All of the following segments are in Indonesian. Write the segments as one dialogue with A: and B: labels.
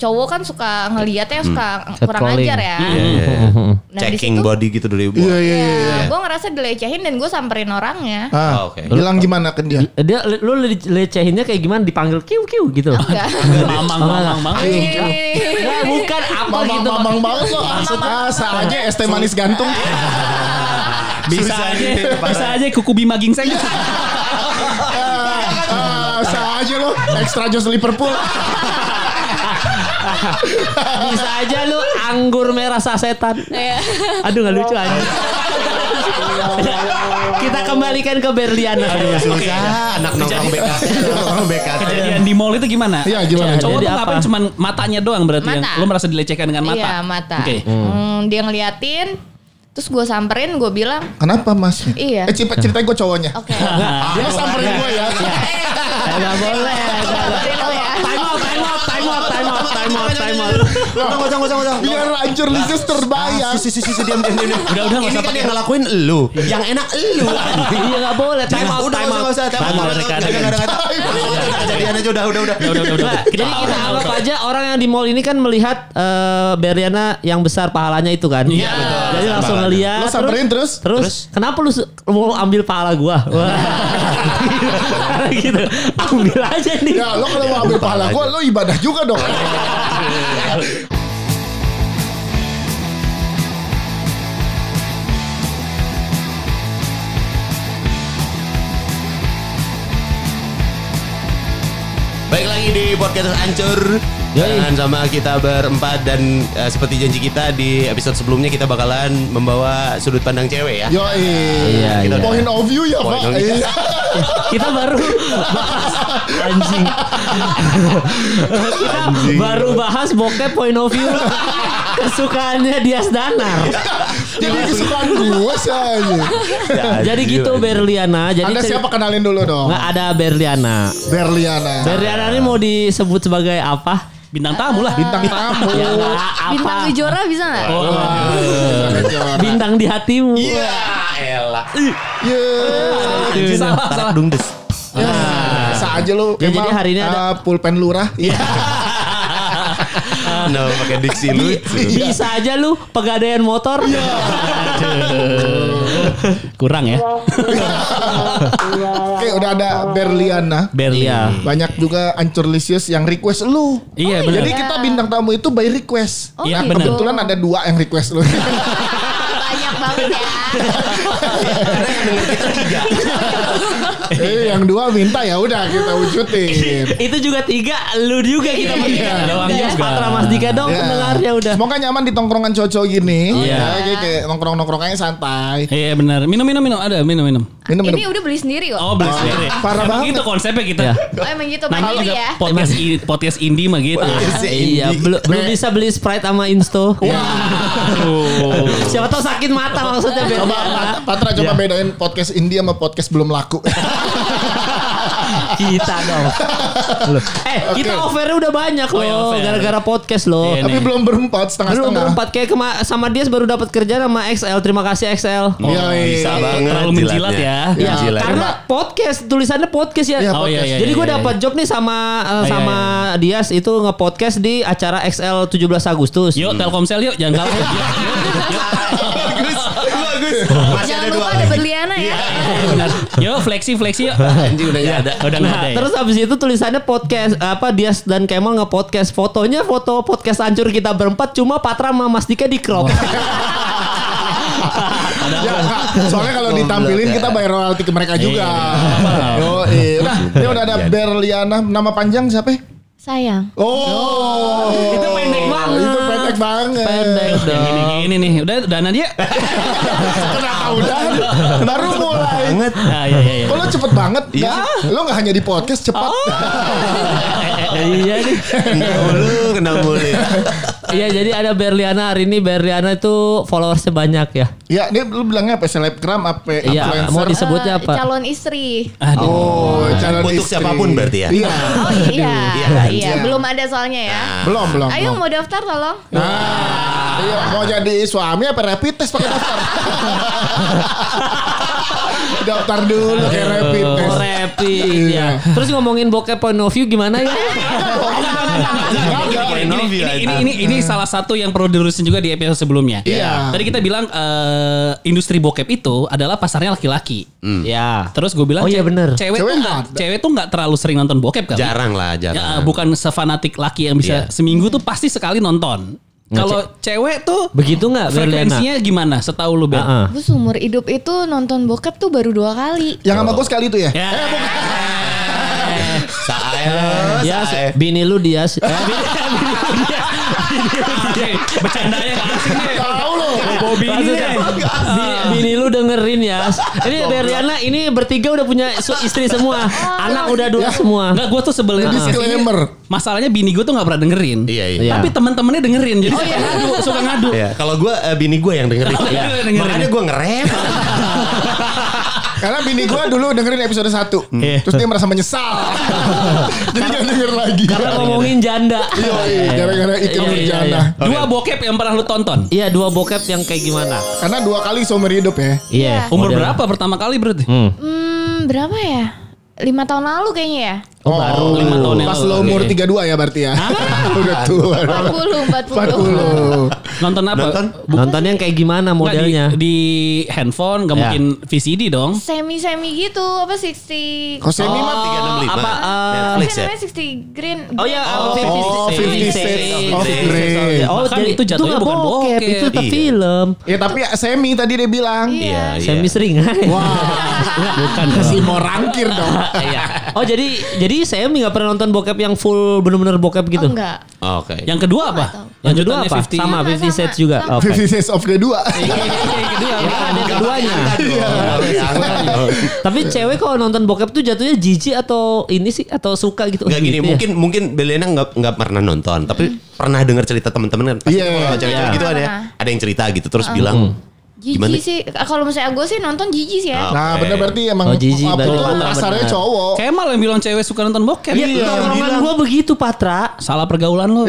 A: cowok kan suka ngelihatnya suka
B: Cat
A: kurang
B: calling.
A: ajar ya.
C: Iya, iya, iya.
B: Mm-hmm.
A: Nah, di
C: Checking
A: situ-
C: body gitu dari
D: Iya iya
A: Ya,
D: iya.
A: gue ngerasa dilecehin dan gue samperin orangnya.
D: Ah,
C: Oh, oke.
D: bilang gimana ke dia?
B: Dia lu le- lecehinnya kayak gimana dipanggil kiu kiu gitu.
C: Ah,
A: Enggak.
E: Mamang, mamang, mamang.
A: Ih.
B: Ya, bukan apa gitu.
D: Mamang-mamang banget loh. Ah, sama aja es teh manis gantung.
E: Bisa
C: Susah
E: aja,
C: gitu, parah.
E: bisa aja kuku gitu. bima gingseng.
D: Ah, sama aja loh. Extra jos Liverpool.
B: Bisa aja lu anggur merah sasetan.
A: Iya.
B: Aduh nggak lucu aja. Kita kembalikan ke Berliana.
C: Susah anak nongkrong BKT. Nongkrong BKT.
E: Kejadian di mall itu gimana?
D: Iya, gimana?
E: Cowok
B: Jadi
E: tuh ngapain
B: apa?
E: cuman matanya doang berarti
A: Mata.
E: yang lu merasa dilecehkan dengan mata.
A: Iya mata.
E: Oke.
A: Hmm, dia ngeliatin, terus gue samperin, gue bilang,
D: Kenapa mas?
A: Iya.
D: Eh cerita- ceritain gue cowoknya.
A: oke.
D: Dia samperin gue ya.
B: Eh, Nggak boleh. nggak boleh.
A: Samperin lo ya.
B: Time out, time out, time out, time out, time out, time out.
C: Gocong, gocong, gocong, gocong.
D: Biar hancur Lisus terbayang.
C: Sisi, sisi, sisi, diam, diam, diam.
E: Udah, udah, nggak
C: Ini
E: usah
C: kan
E: pakai.
C: yang ngelakuin elu. Yang enak elu.
B: Iya nggak boleh. Time out,
C: Udah,
B: time out.
C: nggak usah, nggak usah. Time out,
E: Baru
C: time out.
E: mereka ada.
C: Udah, nggak ada kata. Udah, Kejadian aja udah, udah, udah.
E: Udah, udah, udah.
B: Jadi kita anggap aja orang yang di mall ini kan melihat eh, Beriana yang besar pahalanya itu kan.
E: Iya, betul.
B: Jadi langsung
C: Pahalanya.
B: ngeliat.
D: Lo samperin terus?
B: Terus, kenapa lu su- mau ambil pahala gua? Wah. gitu. Ambil aja nih.
D: Ya lo kalau mau ambil pahala gue lo ibadah juga dong.
C: Baik lagi di podcast Ancur
B: Yoi.
C: dan sama kita berempat dan eh, seperti janji kita di episode sebelumnya kita bakalan membawa sudut pandang cewek ya.
D: Yo
B: Iya,
D: iya.
B: iya.
D: Point of view ya
C: Point
D: pak.
C: of view.
D: Iya.
B: Kita baru bahas anjing. Kita baru bahas bokep point of view kesukaannya Dias Danar.
D: Jadi kesukaan gue sih. anjing.
B: Jadi gitu Berliana. Jadi
D: Anda
B: ceri-
D: siapa kenalin dulu dong?
B: Nggak ada Berliana.
D: Berliana.
B: Berliana ini mau disebut sebagai apa?
E: Bintang tamu lah.
D: Bintang tamu.
B: Ya nggak apa.
A: Bintang Kejora bisa nggak?
B: Bintang di hatimu.
C: Iya, elah.
D: Yeah.
B: Aduh,
E: Salah, salah.
C: Dungdes.
D: Iya. Ya, Sa aja lu
B: Ah. Ya, jadi hari ini
D: eh,
B: ada-
D: pulpen lurah. Iya.
C: No, pakai diksi lucu.
B: Bisa aja lu pegadaian motor.
E: Kurang ya.
D: Oke, udah ada Berliana.
B: Berlia.
D: Banyak juga Ancurlicious yang request lu.
E: Iya,
D: Oh,
E: benar.
D: Jadi kita bintang tamu itu by request.
A: Oh,
D: nah,
A: gitu.
D: kebetulan ada dua yang request lu.
A: Banyak banget ya.
D: eh, yang dua minta ya udah kita wujudin.
B: Itu juga tiga, lu juga kita bertiga.
E: Doang
B: Iya,
E: juga.
B: Patra Mas Dika dong
D: Ya.
B: pendengarnya udah. Oh,
D: Semoga nyaman di tongkrongan cocok gini.
E: Iya.
D: Ya, kayak, kayak nongkrong-nongkrong aja santai.
E: Iya benar. Minum minum minum ada minum minum.
D: Minum
A: Ini
D: minum.
A: udah beli sendiri kok.
E: Oh beli sendiri.
D: parah
E: Emang
D: banget.
E: Itu konsepnya kita.
B: Iya.
A: Oh, emang gitu
E: Namanya
A: Pak
E: juga
A: ya.
E: podcast i- podcast indie mah gitu.
B: Iya, belum belum bisa beli Sprite sama Insto.
D: Iya.
B: Siapa tahu sakit mata maksudnya
D: Coba
B: Berliana.
D: Pat- Patra coba bedain podcast India sama podcast belum laku.
B: kita dong. Loh. Eh, kita
D: Oke.
B: offernya udah banyak
E: Oh, iya,
B: loh
E: offer.
B: gara-gara podcast loh.
E: Iya,
D: Tapi
E: Nih.
D: belum berempat
B: Belum
D: setengah-setengah.
B: berempat kayak kema- sama dia baru dapat kerja sama XL. Terima kasih XL.
D: Iya, iya.
C: Bisa banget.
E: Terlalu menjilat ya.
B: Ya,
C: Iya,
B: karena podcast tulisannya podcast ya.
D: Iya,
E: Oh, iya, podcast. iya,
B: Jadi gue
E: iya, iya.
B: dapat job nih sama eh,
E: iya,
B: sama Dias itu nge-podcast di acara XL 17 Agustus.
E: Yuk Telkomsel yuk jangan kalah.
C: Bagus, bagus. Masih
A: Jangan
C: ada dua.
A: lupa ada berliana ya.
E: Iya. Yuk flexi flexi yuk.
C: Anjing udah nggak ada.
E: Udah nggak ada.
B: Nah,
E: ya?
B: terus habis itu tulisannya podcast apa Dias dan Kemal nge-podcast. Fotonya foto podcast hancur kita berempat cuma Patra sama Mas Dika di crop.
D: Ya, soalnya kalau ditampilin kita bayar royalti ke mereka juga. Oh, ya. iya. Nah, ini udah ada Berliana. Nama panjang siapa? ya?
A: Sayang.
D: Oh,
B: Itu pendek banget.
D: Itu pendek banget.
B: Pendek
E: Yang
B: dong.
E: Gini gini nih. Udah dana dia.
D: Kenapa udah? Baru mulai.
C: Banget.
E: Nah, iya iya iya.
D: Oh, lo cepet banget. Ya, lo nggak hanya di podcast cepat.
B: Oh. Iya nih.
C: Kenal mulu, kenal mulu.
B: Iya jadi ada Berliana hari ini Berliana itu followersnya banyak ya.
D: Ya, ini lo bilangnya apa? Selebgram, apa?
B: Iya mau
D: influencer?
B: disebutnya
A: Eh,
B: apa?
A: Calon istri.
D: Oh, calon
C: Untuk
D: istri.
C: siapapun berarti ya?
D: Iya.
A: Oh iya.
C: Iya,
A: Iya,
C: kan?
A: belum ada soalnya ya.
D: Belum, belum.
A: Ayo
D: belum.
A: mau daftar tolong.
D: Nah, iya, mau jadi suami apa rapid test pakai daftar? Daftar dulu kayak rapid test.
B: Oh, rapid ya.
E: Iya.
B: Terus ngomongin bokep point of view gimana ya?
D: Kagak.
E: Ini, ini,
C: Novia,
E: ini, ini, ini salah satu yang perlu dilurusin juga di episode sebelumnya.
D: Iya.
E: Tadi kita bilang eh, industri bokep itu adalah pasarnya laki-laki.
B: Ya.
E: Terus gue bilang
B: Oh, iya,
E: ce-
B: bener.
E: cewek,
D: Hmm. Cewek
E: tuh nggak
D: nggak ada.
E: cewek tuh nggak terlalu sering nonton bokep kan?
C: jarang lah
E: Ya,
C: jarang
E: bukan sefanatik laki yang bisa
C: Iya.
E: seminggu tuh pasti sekali nonton. Kalau cewek tuh
B: Begitu nggak, Bel,
E: frekuensinya gimana? Setahu lu Bel?
B: Heeh.
A: Gue seumur hidup itu nonton bokep tuh baru dua kali.
D: Yang sama gue sekali itu ya.
E: Ya.
D: Eh, bukan.
C: Sae,
B: Ya,
C: sae.
B: bini lu dia. Eh, bini-
E: Oke, Bercandanya nggak asik nih.
D: Tahu lo.
E: Bobby
B: maksudnya, bini, bini lu dengerin ya. Ini Berliana ini bertiga udah punya su- istri semua. Anak udah dua semua.
E: Enggak, gue tuh sebelnya Iya.
D: Disclaimer.
E: Masalahnya bini gue tuh nggak pernah dengerin.
C: Iya, iya.
E: Tapi
B: Iya.
E: teman-temannya dengerin, jadi
D: Oh,
E: suka ngadu, suka ngadu.
C: Iya, kalau gue bini gue yang dengerin.
E: Kalau
C: Iya.
E: lu yang dengerin.
C: Makanya gue ngerem.
D: Karena bini gue dulu dengerin episode 1 Terus dia merasa menyesal Jadi dia denger lagi
B: Karena ngomongin janda.
D: Yoi, Gara-gara ikut
B: Iya, iya,
D: berjana
B: iya.
E: Dua bokep yang pernah lu tonton.
B: Iya, dua bokep yang kayak gimana?
D: Karena dua kali seumur hidup ya
B: Iya.
E: Umur
B: Model.
E: berapa pertama kali berarti?
A: Hmm, berapa ya? Lima tahun lalu kayaknya ya?
B: Oh, baru.
E: Lima tahun yang
D: Pas
E: lalu.
D: lo umur
E: Oke.
D: 32 ya berarti ya Udah tua
A: 40, 40.
D: 40
E: Nonton apa?
C: Nonton?
B: Nonton yang kayak gimana
E: Nggak, di-
B: modelnya?
E: di, handphone, gak
B: Ya.
E: mungkin VCD dong.
A: Semi-semi gitu, apa 60...
D: Kok semi mah
B: apa, eh,
C: 365. Oh. Netflix ya? iya,
A: Namanya 60 green.
B: Oh ya,
D: Oh,
B: 50 Shades.
D: 56 of Grey.
B: Oh,
E: Bahkan
B: jadi
E: itu jatuhnya
B: nggak
E: bukan bokep.
B: itu tetap
C: Iya.
B: film.
D: Ya tapi semi tadi dia bilang
C: Iya, iya.
B: Semi seringai.
D: Wah
E: Bukan.
D: Si mau rangkir dong
B: Oh jadi jadi saya nggak pernah nonton bokep yang full bener-bener bokep gitu.
A: Oh, enggak.
C: Oke.
E: Yang kedua apa?
A: tahu.
B: Yang kedua
E: Lanjutannya
B: apa?
E: 50.
B: Sama
A: Sama,
B: 50 Shades
A: sama.
B: juga.
A: Sama.
B: Oke.
D: Fifty Shades of the 2
E: Yang kedua apa?
B: Ada keduanya.
C: Iya.
B: Tapi cewek kalau nonton bokep tuh jatuhnya jijik atau ini sih atau suka gitu.
C: Gak gini,
B: Gitu ya?
C: mungkin mungkin Belena nggak nggak pernah nonton, tapi pernah dengar cerita teman-teman kan. Pasti
D: Iya.
C: kalau cewek-cewek
A: Iya.
C: gitu ada,
A: Pernah.
C: ada yang cerita gitu terus bilang Gimana?
A: Jijik sih. Kalau misalnya gue sih nonton jijik sih ya.
C: Ah.
D: Nah bener berarti
B: Oh,
D: emang
B: jijik,
D: Apa
B: berarti
D: itu
B: bener,
D: pasarnya
B: bener.
D: cowok
E: Kemal yang bilang cewek suka nonton bokep.
B: Oh. Iya,
C: Iya,
B: tongkrongan
C: bilang.
B: gue begitu Patra.
E: Salah pergaulan lo.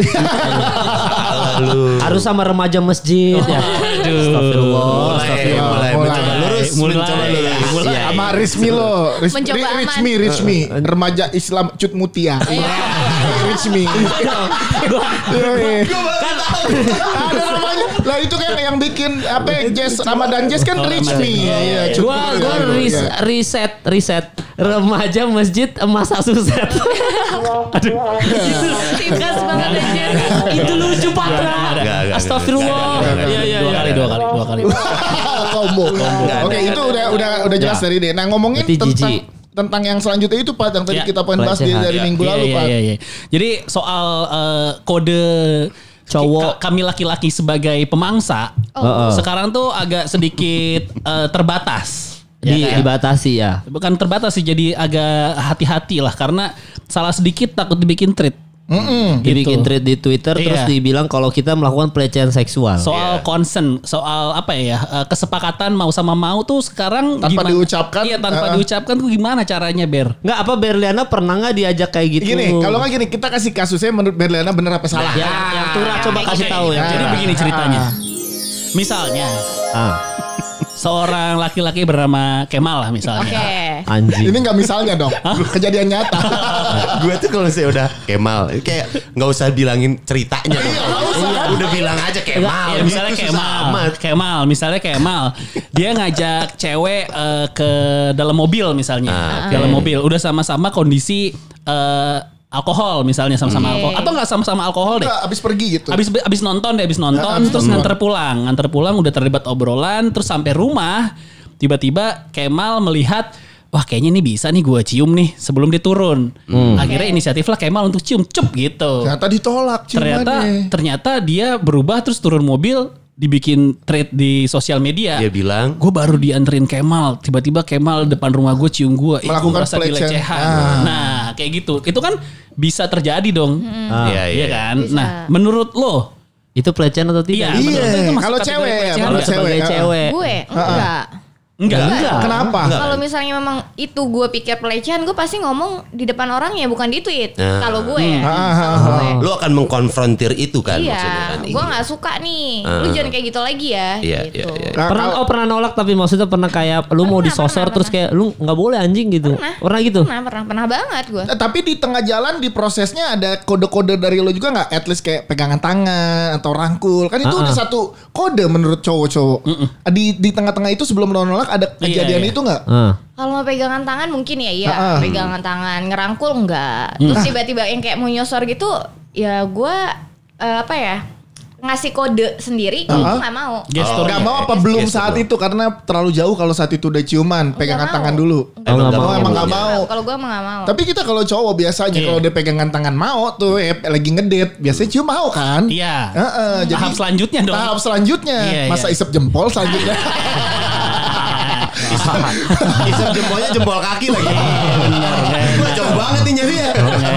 C: lalu
B: Harus sama remaja masjid. Iya, ya.
E: Oh.
B: Astagfirullah.
C: mulai mulai
D: Mulai.
C: mencoba lurus,
E: Mulai.
C: mencoba lurus.
E: Mulai.
C: Iya, iya.
D: Sama Rizmi lo Riz-
A: Mencoba
D: Ri-
A: aman. Iya.
D: Rizmi Rizmi Remaja Islam Cut Mutia Rizmi Yoi. Kan Ada namanya Lah itu kan yang bikin Apa Jess Ramadan Jess kan Rizmi Iya Cut
B: Gua
D: Mutia.
B: gua ris-
D: Iya.
B: riset riset remaja masjid emas asuset. Aduh.
A: Singkat banget aja.
B: Itu lucu Patra.
C: Enggak, enggak,
B: Astagfirullah.
C: enggak, enggak,
B: Iya iya
E: Dua
B: iya.
E: kali, dua kali, dua kali.
D: Combo. Oke, itu udah udah udah jelas
B: Ya.
D: dari dia. Nah, ngomongin
B: Berarti
D: tentang
B: jijik.
D: tentang yang selanjutnya itu Pak yang tadi
E: Ya.
D: kita poin bahas
B: Baik,
D: dia
B: sehat.
D: dari minggu lalu
E: iya,
D: Pak.
E: iya, iya. Jadi soal eh, kode
B: Cowok.
E: ki- kami laki-laki sebagai pemangsa
A: Oh.
E: sekarang tuh agak sedikit eh, terbatas.
B: Di,
E: Ya kan?
B: dibatasi ya.
E: Bukan terbatas sih jadi agak hati-hati lah karena salah sedikit takut dibikin treat.
B: Dibikin
E: Gitu.
B: thread di Twitter
E: Iya.
B: terus dibilang kalau kita melakukan pelecehan seksual.
E: Soal concern, soal apa ya eh, kesepakatan mau sama mau tuh sekarang
D: Tanpa diucapkan,
E: Iya, tanpa
D: eh.
E: diucapkan tuh gimana caranya, Ber?
B: Enggak apa Berliana pernah nggak diajak kayak gitu?
D: Gini, kalau nggak gini kita kasih kasusnya menurut Berliana bener apa salah.
B: ya,
E: Ah,
B: yang turah coba
E: Oke,
B: kasih tahu ya.
E: Jadi
D: Nah.
E: begini ceritanya. Misalnya
B: Ah,
E: seorang laki-laki bernama Kemal lah misalnya.
A: Oke.
D: Ini
B: anjing.
D: nggak misalnya dong, kejadian nyata.
C: gue tuh kalau saya udah Kemal kayak nggak usah bilangin ceritanya Iya, udah bilang aja Kemal
E: Ya,
C: gitu,
E: misalnya
C: susah
E: Kemal,
C: amat.
E: Kemal, misalnya Kemal, dia ngajak cewek eh, ke dalam mobil misalnya,
C: Ah,
E: dalam mobil, udah sama-sama kondisi eh, alkohol misalnya sama-sama
A: Oke.
E: alkohol, atau nggak sama-sama alkohol deh,
D: Nggak, Abis pergi gitu.
E: Abis abis nonton deh, abis nonton,
D: abis
E: terus
D: nonton.
E: nganter pulang, nganter pulang udah terlibat obrolan, terus sampai rumah, tiba-tiba Kemal melihat Wah kayaknya ini bisa nih gue cium nih sebelum diturun.
D: Hmm.
E: Akhirnya inisiatiflah Kemal untuk cium cup gitu
D: Ternyata ditolak
E: ternyata
D: ciumannya.
E: ternyata dia berubah terus turun mobil dibikin trade di sosial media.
C: dia
D: Iya.
C: bilang
E: Gue baru dianterin Kemal, tiba-tiba Kemal depan rumah gue cium gue,
D: Melakukan pelecehan. Ah.
E: pelecehan. Nah, kayak gitu, itu kan bisa terjadi dong,
D: Ah.
C: Iya,
E: iya
C: iya.
E: kan?
A: Bisa.
E: Nah, menurut lo,
B: Itu pelecehan atau tidak?
E: Iya.
D: Iya,
E: Itu masuk
D: kalau
E: kategori
D: cewek,
E: pelecehan
D: kalau
E: nggak?
C: Eh.
D: cewek,
B: Sebagai
D: ah.
B: cewek.
A: Gue enggak.
E: Enggak.
B: Enggak.
D: Kenapa?
A: Kalau misalnya memang itu gue pikir pelecehan, gue pasti ngomong di depan orang ya bukan di tweet.
C: Nah.
A: Kalau gue ya.
D: Ah, ah,
A: kalau gue.
C: Lu akan mengkonfrontir itu kan
A: Iya,
C: maksudnya kan.
A: gue nggak suka nih.
C: Ah.
A: Lu jangan kayak gitu lagi ya.
C: Iya,
A: gitu.
C: iya, iya.
D: Nah,
B: pernah
D: kalau-
B: oh pernah nolak tapi maksudnya pernah kayak lu mau
A: Pernah,
B: disosor
A: pernah,
B: terus kayak lu nggak boleh anjing gitu.
A: Pernah.
B: Pernah, gitu.
A: Pernah, pernah, pernah banget gue.
D: Eh, tapi di tengah jalan di prosesnya ada kode-kode dari lo juga nggak? At least kayak pegangan tangan atau rangkul. Kan itu
B: Ah, ah.
D: udah satu kode menurut cowok-cowok. Di di tengah-tengah itu sebelum lo nolak ada kejadian
E: iya.
D: itu nggak?
B: Ah.
A: Kalau mau pegangan tangan mungkin ya iya,
D: Ah, ah.
A: pegangan tangan, ngerangkul enggak.
C: Hmm.
A: Terus tiba-tiba yang kayak mau nyosor gitu, ya gua eh, apa ya? ngasih kode sendiri, gue
D: Ah, ah.
A: nggak mau.
E: Gestur.
D: Nggak
C: iya,
D: mau
C: iya,
D: apa
C: iya,
D: belum
C: iya,
D: saat
C: iya.
D: itu karena terlalu jauh kalau saat itu udah ciuman pegangan
A: nggak
D: tangan
A: mau.
D: dulu.
B: Oh, nggak
D: mau,
B: mau.
D: emang nggak mau.
A: Kalau gua emang nggak mau.
D: Tapi kita kalau cowok biasanya
E: Iya.
D: kalau dia pegangan tangan mau tuh eh, lagi ngedit biasanya cium mau kan?
E: Iya.
D: Heeh, jadi
E: Tahap selanjutnya dong.
D: Tahap selanjutnya.
E: Iya, iya.
D: Masa isep jempol selanjutnya.
C: Isep jempolnya jempol kaki lagi. Gua jauh banget nih nyari ya.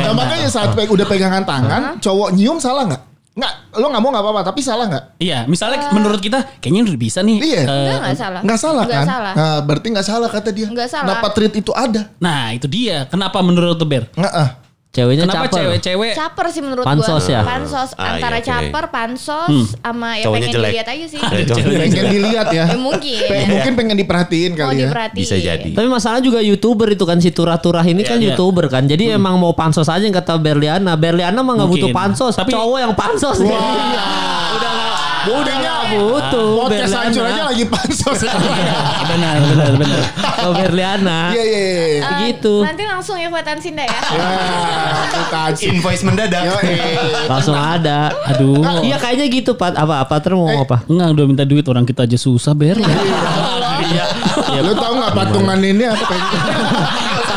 D: nah, makanya saat pe- udah pegangan tangan, cowok nyium salah nggak? Nggak, lo nggak mau nggak apa-apa, tapi salah nggak?
E: Iya, misalnya menurut kita kayaknya udah bisa nih.
D: Iya.
E: eh,
A: Enggak, enggak salah.
D: Nggak salah
A: Nggak
D: kan?
A: salah.
D: Nah, berarti nggak salah kata dia.
A: Nggak salah.
D: Kenapa treat itu ada?
E: Nah, itu dia. Kenapa menurut lu, Ber?
D: Nggak ah.
B: Ceweknya
E: Kenapa
B: caper.
E: cewek-cewek
A: Caper sih menurut
B: Pansos
A: gua.
B: ya?
A: Pansos
C: Ah,
A: antara
C: iya, oke. Hmm.
A: caper, pansos sama ya
C: Cowoknya
A: pengen
C: jelek.
A: dilihat aja sih.
C: Eh, cowok.
D: Pengen dilihat ya.
A: ya mungkin.
D: Pe- Mungkin pengen diperhatiin
A: Mau
D: kali ya.
A: diperhatiin.
C: Bisa jadi.
B: Tapi masalah juga youtuber itu kan si turah-turah ini
C: Iya,
B: kan
E: iya.
B: youtuber kan. Jadi emang mau pansos aja yang kata Berliana. Berliana mah nggak butuh
E: Mungkin.
B: pansos. Tapi
E: Tapi-
B: cowok yang pansos. Iya. Udah nggak- udah nggak butuh.
D: Podcast
B: Berliana.
D: hancur aja lagi pansos.
E: benar, benar, benar.
B: Oh, Berliana.
D: Iya, iya, iya.
A: Eh,
B: Begitu.
A: Nanti langsung ya buatan Sinda ya.
D: Ya, kita aja.
C: Invoice mendadak.
D: Yo, eh.
B: Langsung ada.
E: Aduh. Eh,
B: Iya kayaknya gitu Pat. Apa apa ter mau ngomong apa?
E: Enggak, udah minta duit orang kita aja susah, Ber.
D: Iya. Lu tau gak patungan ini apa? Nggak usah.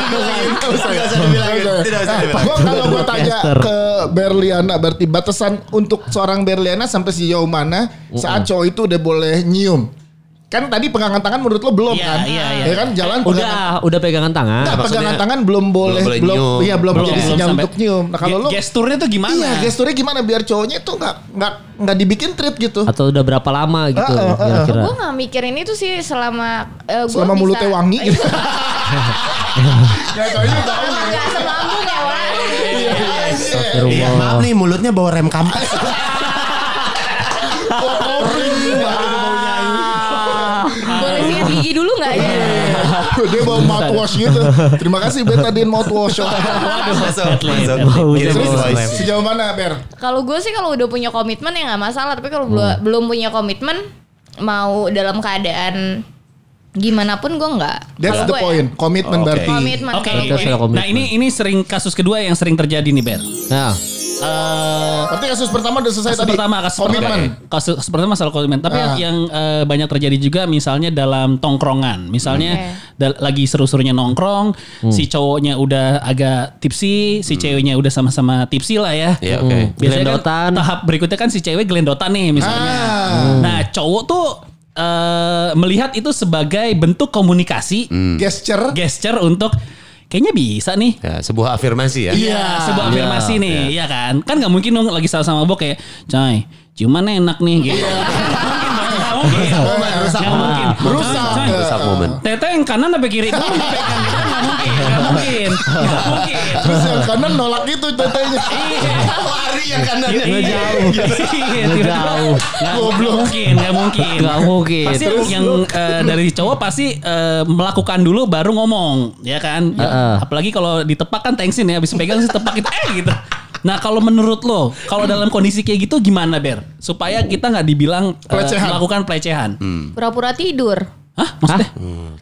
C: Nggak usah dibilangin.
D: Nggak usah.
C: Tidak usah
D: Eh,
C: dibilangin.
D: gua kalau gue tanya
B: Podcaster.
D: ke Berliana berarti batasan untuk seorang Berliana sampai sejauh mana saat cowok itu udah boleh nyium? Kan tadi pegangan tangan menurut lo belum
E: Iya,
D: kan?
E: iya, iya.
D: Ya kan jalan pegangan
B: Udah, udah pegangan tangan.
D: Nggak,
C: maksudnya
D: pegangan tangan belum boleh
C: boleh
D: belum
C: nyium.
D: iya belum
E: Belum,
D: jadi
E: belum
D: sinyal
E: sampai.
D: untuk nyium. Nah kalau
E: Ge-
D: lo
E: gesturnya tuh gimana?
D: Iya, gesturnya gimana biar cowoknya itu nggak nggak nggak dibikin trip gitu.
B: Atau udah berapa lama gitu
D: Ah, ah, ah.
B: kira-kira.
A: Gue gak mikirin itu sih selama eh, gua
D: Selama
A: bisa-
D: mulutnya wangi gitu. Ya, cowoknya tahu.
A: Selama nggak selambung ya Wak.
B: Astagfirullah.
C: Iya, maaf nih mulutnya bawa rem kampus.
A: Boleh sikat gigi dulu gak ya?
D: Dia bawa mouthwash gitu. Terima kasih Betadine mouthwash.
C: Waduh, masuk.
E: Atlet.
C: Masuk.
B: Bau
C: Kirim
B: rem.
C: invoice.
D: Sejauh mana, Ber?
A: Kalau gue sih kalau udah punya komitmen ya gak masalah. Tapi kalau belum belum punya komitmen, mau dalam keadaan gimana pun gue gak.
D: That's
A: ya?
D: the point. Komitmen
C: Oke.
D: berarti.
A: Komitmen.
E: Oke.
A: kalau gue.
B: Kita salah
E: Nah,
B: komitmen.
E: ini ini sering kasus kedua yang sering terjadi nih, Ber.
B: Nah,
E: Eh,
D: Berarti kasus pertama udah selesai
E: kasus
D: tadi.
E: pertama kasus
D: komitmen.
E: pertama. kasus kasus pertama masalah komitmen tapi
D: Ah.
E: yang eh, banyak terjadi juga misalnya dalam tongkrongan misalnya
A: Oke.
E: dal- lagi seru-serunya nongkrong
D: Hmm.
E: si cowoknya udah agak tipsi si ceweknya udah sama-sama tipsi lah ya
C: Iya, oke.
E: Hmm. biasanya
B: Gelendotan.
E: kan tahap berikutnya kan si cewek gelendotan nih misalnya
D: Ah.
E: nah cowok tuh eh, melihat itu sebagai bentuk komunikasi
D: Hmm. Gesture.
E: gesture untuk kayaknya bisa nih
C: Ya, sebuah afirmasi ya.
E: Iya, sebuah afirmasi nih, iya kan? Kan nggak mungkin dong lagi sama-sama bok kayak, coy, cuman enak nih gitu. Nggak mungkin, nggak mungkin.
D: Rusak
E: Nggak mungkin.
D: Rusak.
E: Coy, coy,
C: Rusak momen.
E: Tete yang kanan apa kiri? Nggak mungkin, nggak mungkin, nggak mungkin. Nggak mungkin.
D: Terus yang kanan nolak gitu, itu tetenya.
C: Ah, Lari ya, kan, yang kanan.
E: Iya,
B: jauh.
E: Iya,
B: Nggak
E: tiba-tiba.
B: jauh.
E: Nggak nggak mungkin, nggak mungkin.
B: Nggak mungkin.
E: Pasti
B: Terus
E: yang eh, dari cowok pasti eh, melakukan dulu baru ngomong, ya kan?
B: Heeh.
E: Apalagi kalau ditepak kan tensin ya, habis pegang sih tepak gitu, eh gitu. Nah kalau menurut lo, kalau dalam kondisi kayak gitu gimana Ber? Supaya kita nggak dibilang eh,
D: Pelecehan.
E: melakukan pelecehan.
B: Hmm.
A: Pura-pura tidur.
E: Hah? Maksudnya?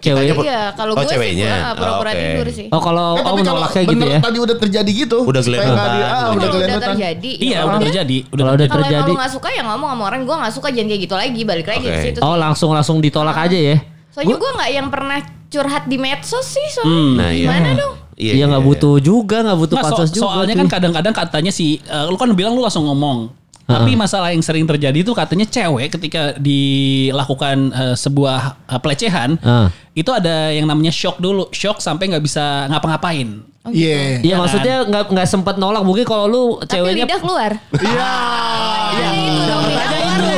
B: cewek.
A: Iya, kalau gue
C: Oh,
A: sih
C: ceweknya.
A: gua, ah, pura-pura
C: Oh, oke.
A: tidur sih.
B: Oh kalau oh
D: Eh, tapi kalau
B: menolaknya gitu
D: bener
B: ya.
D: Tadi udah terjadi gitu.
C: Udah
D: Supaya
C: geledotan.
D: nggak di- ah,
C: Kalau
D: udah
A: Kalau udah
D: geledotan.
A: terjadi.
E: Iya,
A: ya
E: udah
A: udah.
E: terjadi. Udah
B: Kalau udah
C: Nah,
A: Kalau emang
B: terjadi,
A: lu gak suka ya ngomong sama orang gue gak suka jangan kayak gitu lagi balik lagi
C: Oke.
A: ke situ.
B: oh langsung langsung ditolak aja ya.
A: Soalnya gue nggak yang pernah curhat di medsos sih soalnya.
C: Nah, iya.
A: Gimana dong?
B: Iya nggak butuh juga, nggak butuh
E: Nggak, so-
B: pansos juga.
E: soalnya
B: cuy. Iya,
E: kan kadang-kadang katanya si, eh, lu kan bilang lu langsung ngomong. Tapi masalah yang sering terjadi itu katanya cewek ketika dilakukan eh, sebuah eh, pelecehan,
B: Heeh.
E: itu ada yang namanya shock dulu, shock sampai nggak bisa ngapa-ngapain.
D: Iya.
B: Iya maksudnya nggak nggak sempat nolak mungkin kalau lu
A: Tapi
B: ceweknya
A: lidah keluar.
D: Iya.
A: gitu Iya. Itu dong lidah keluar.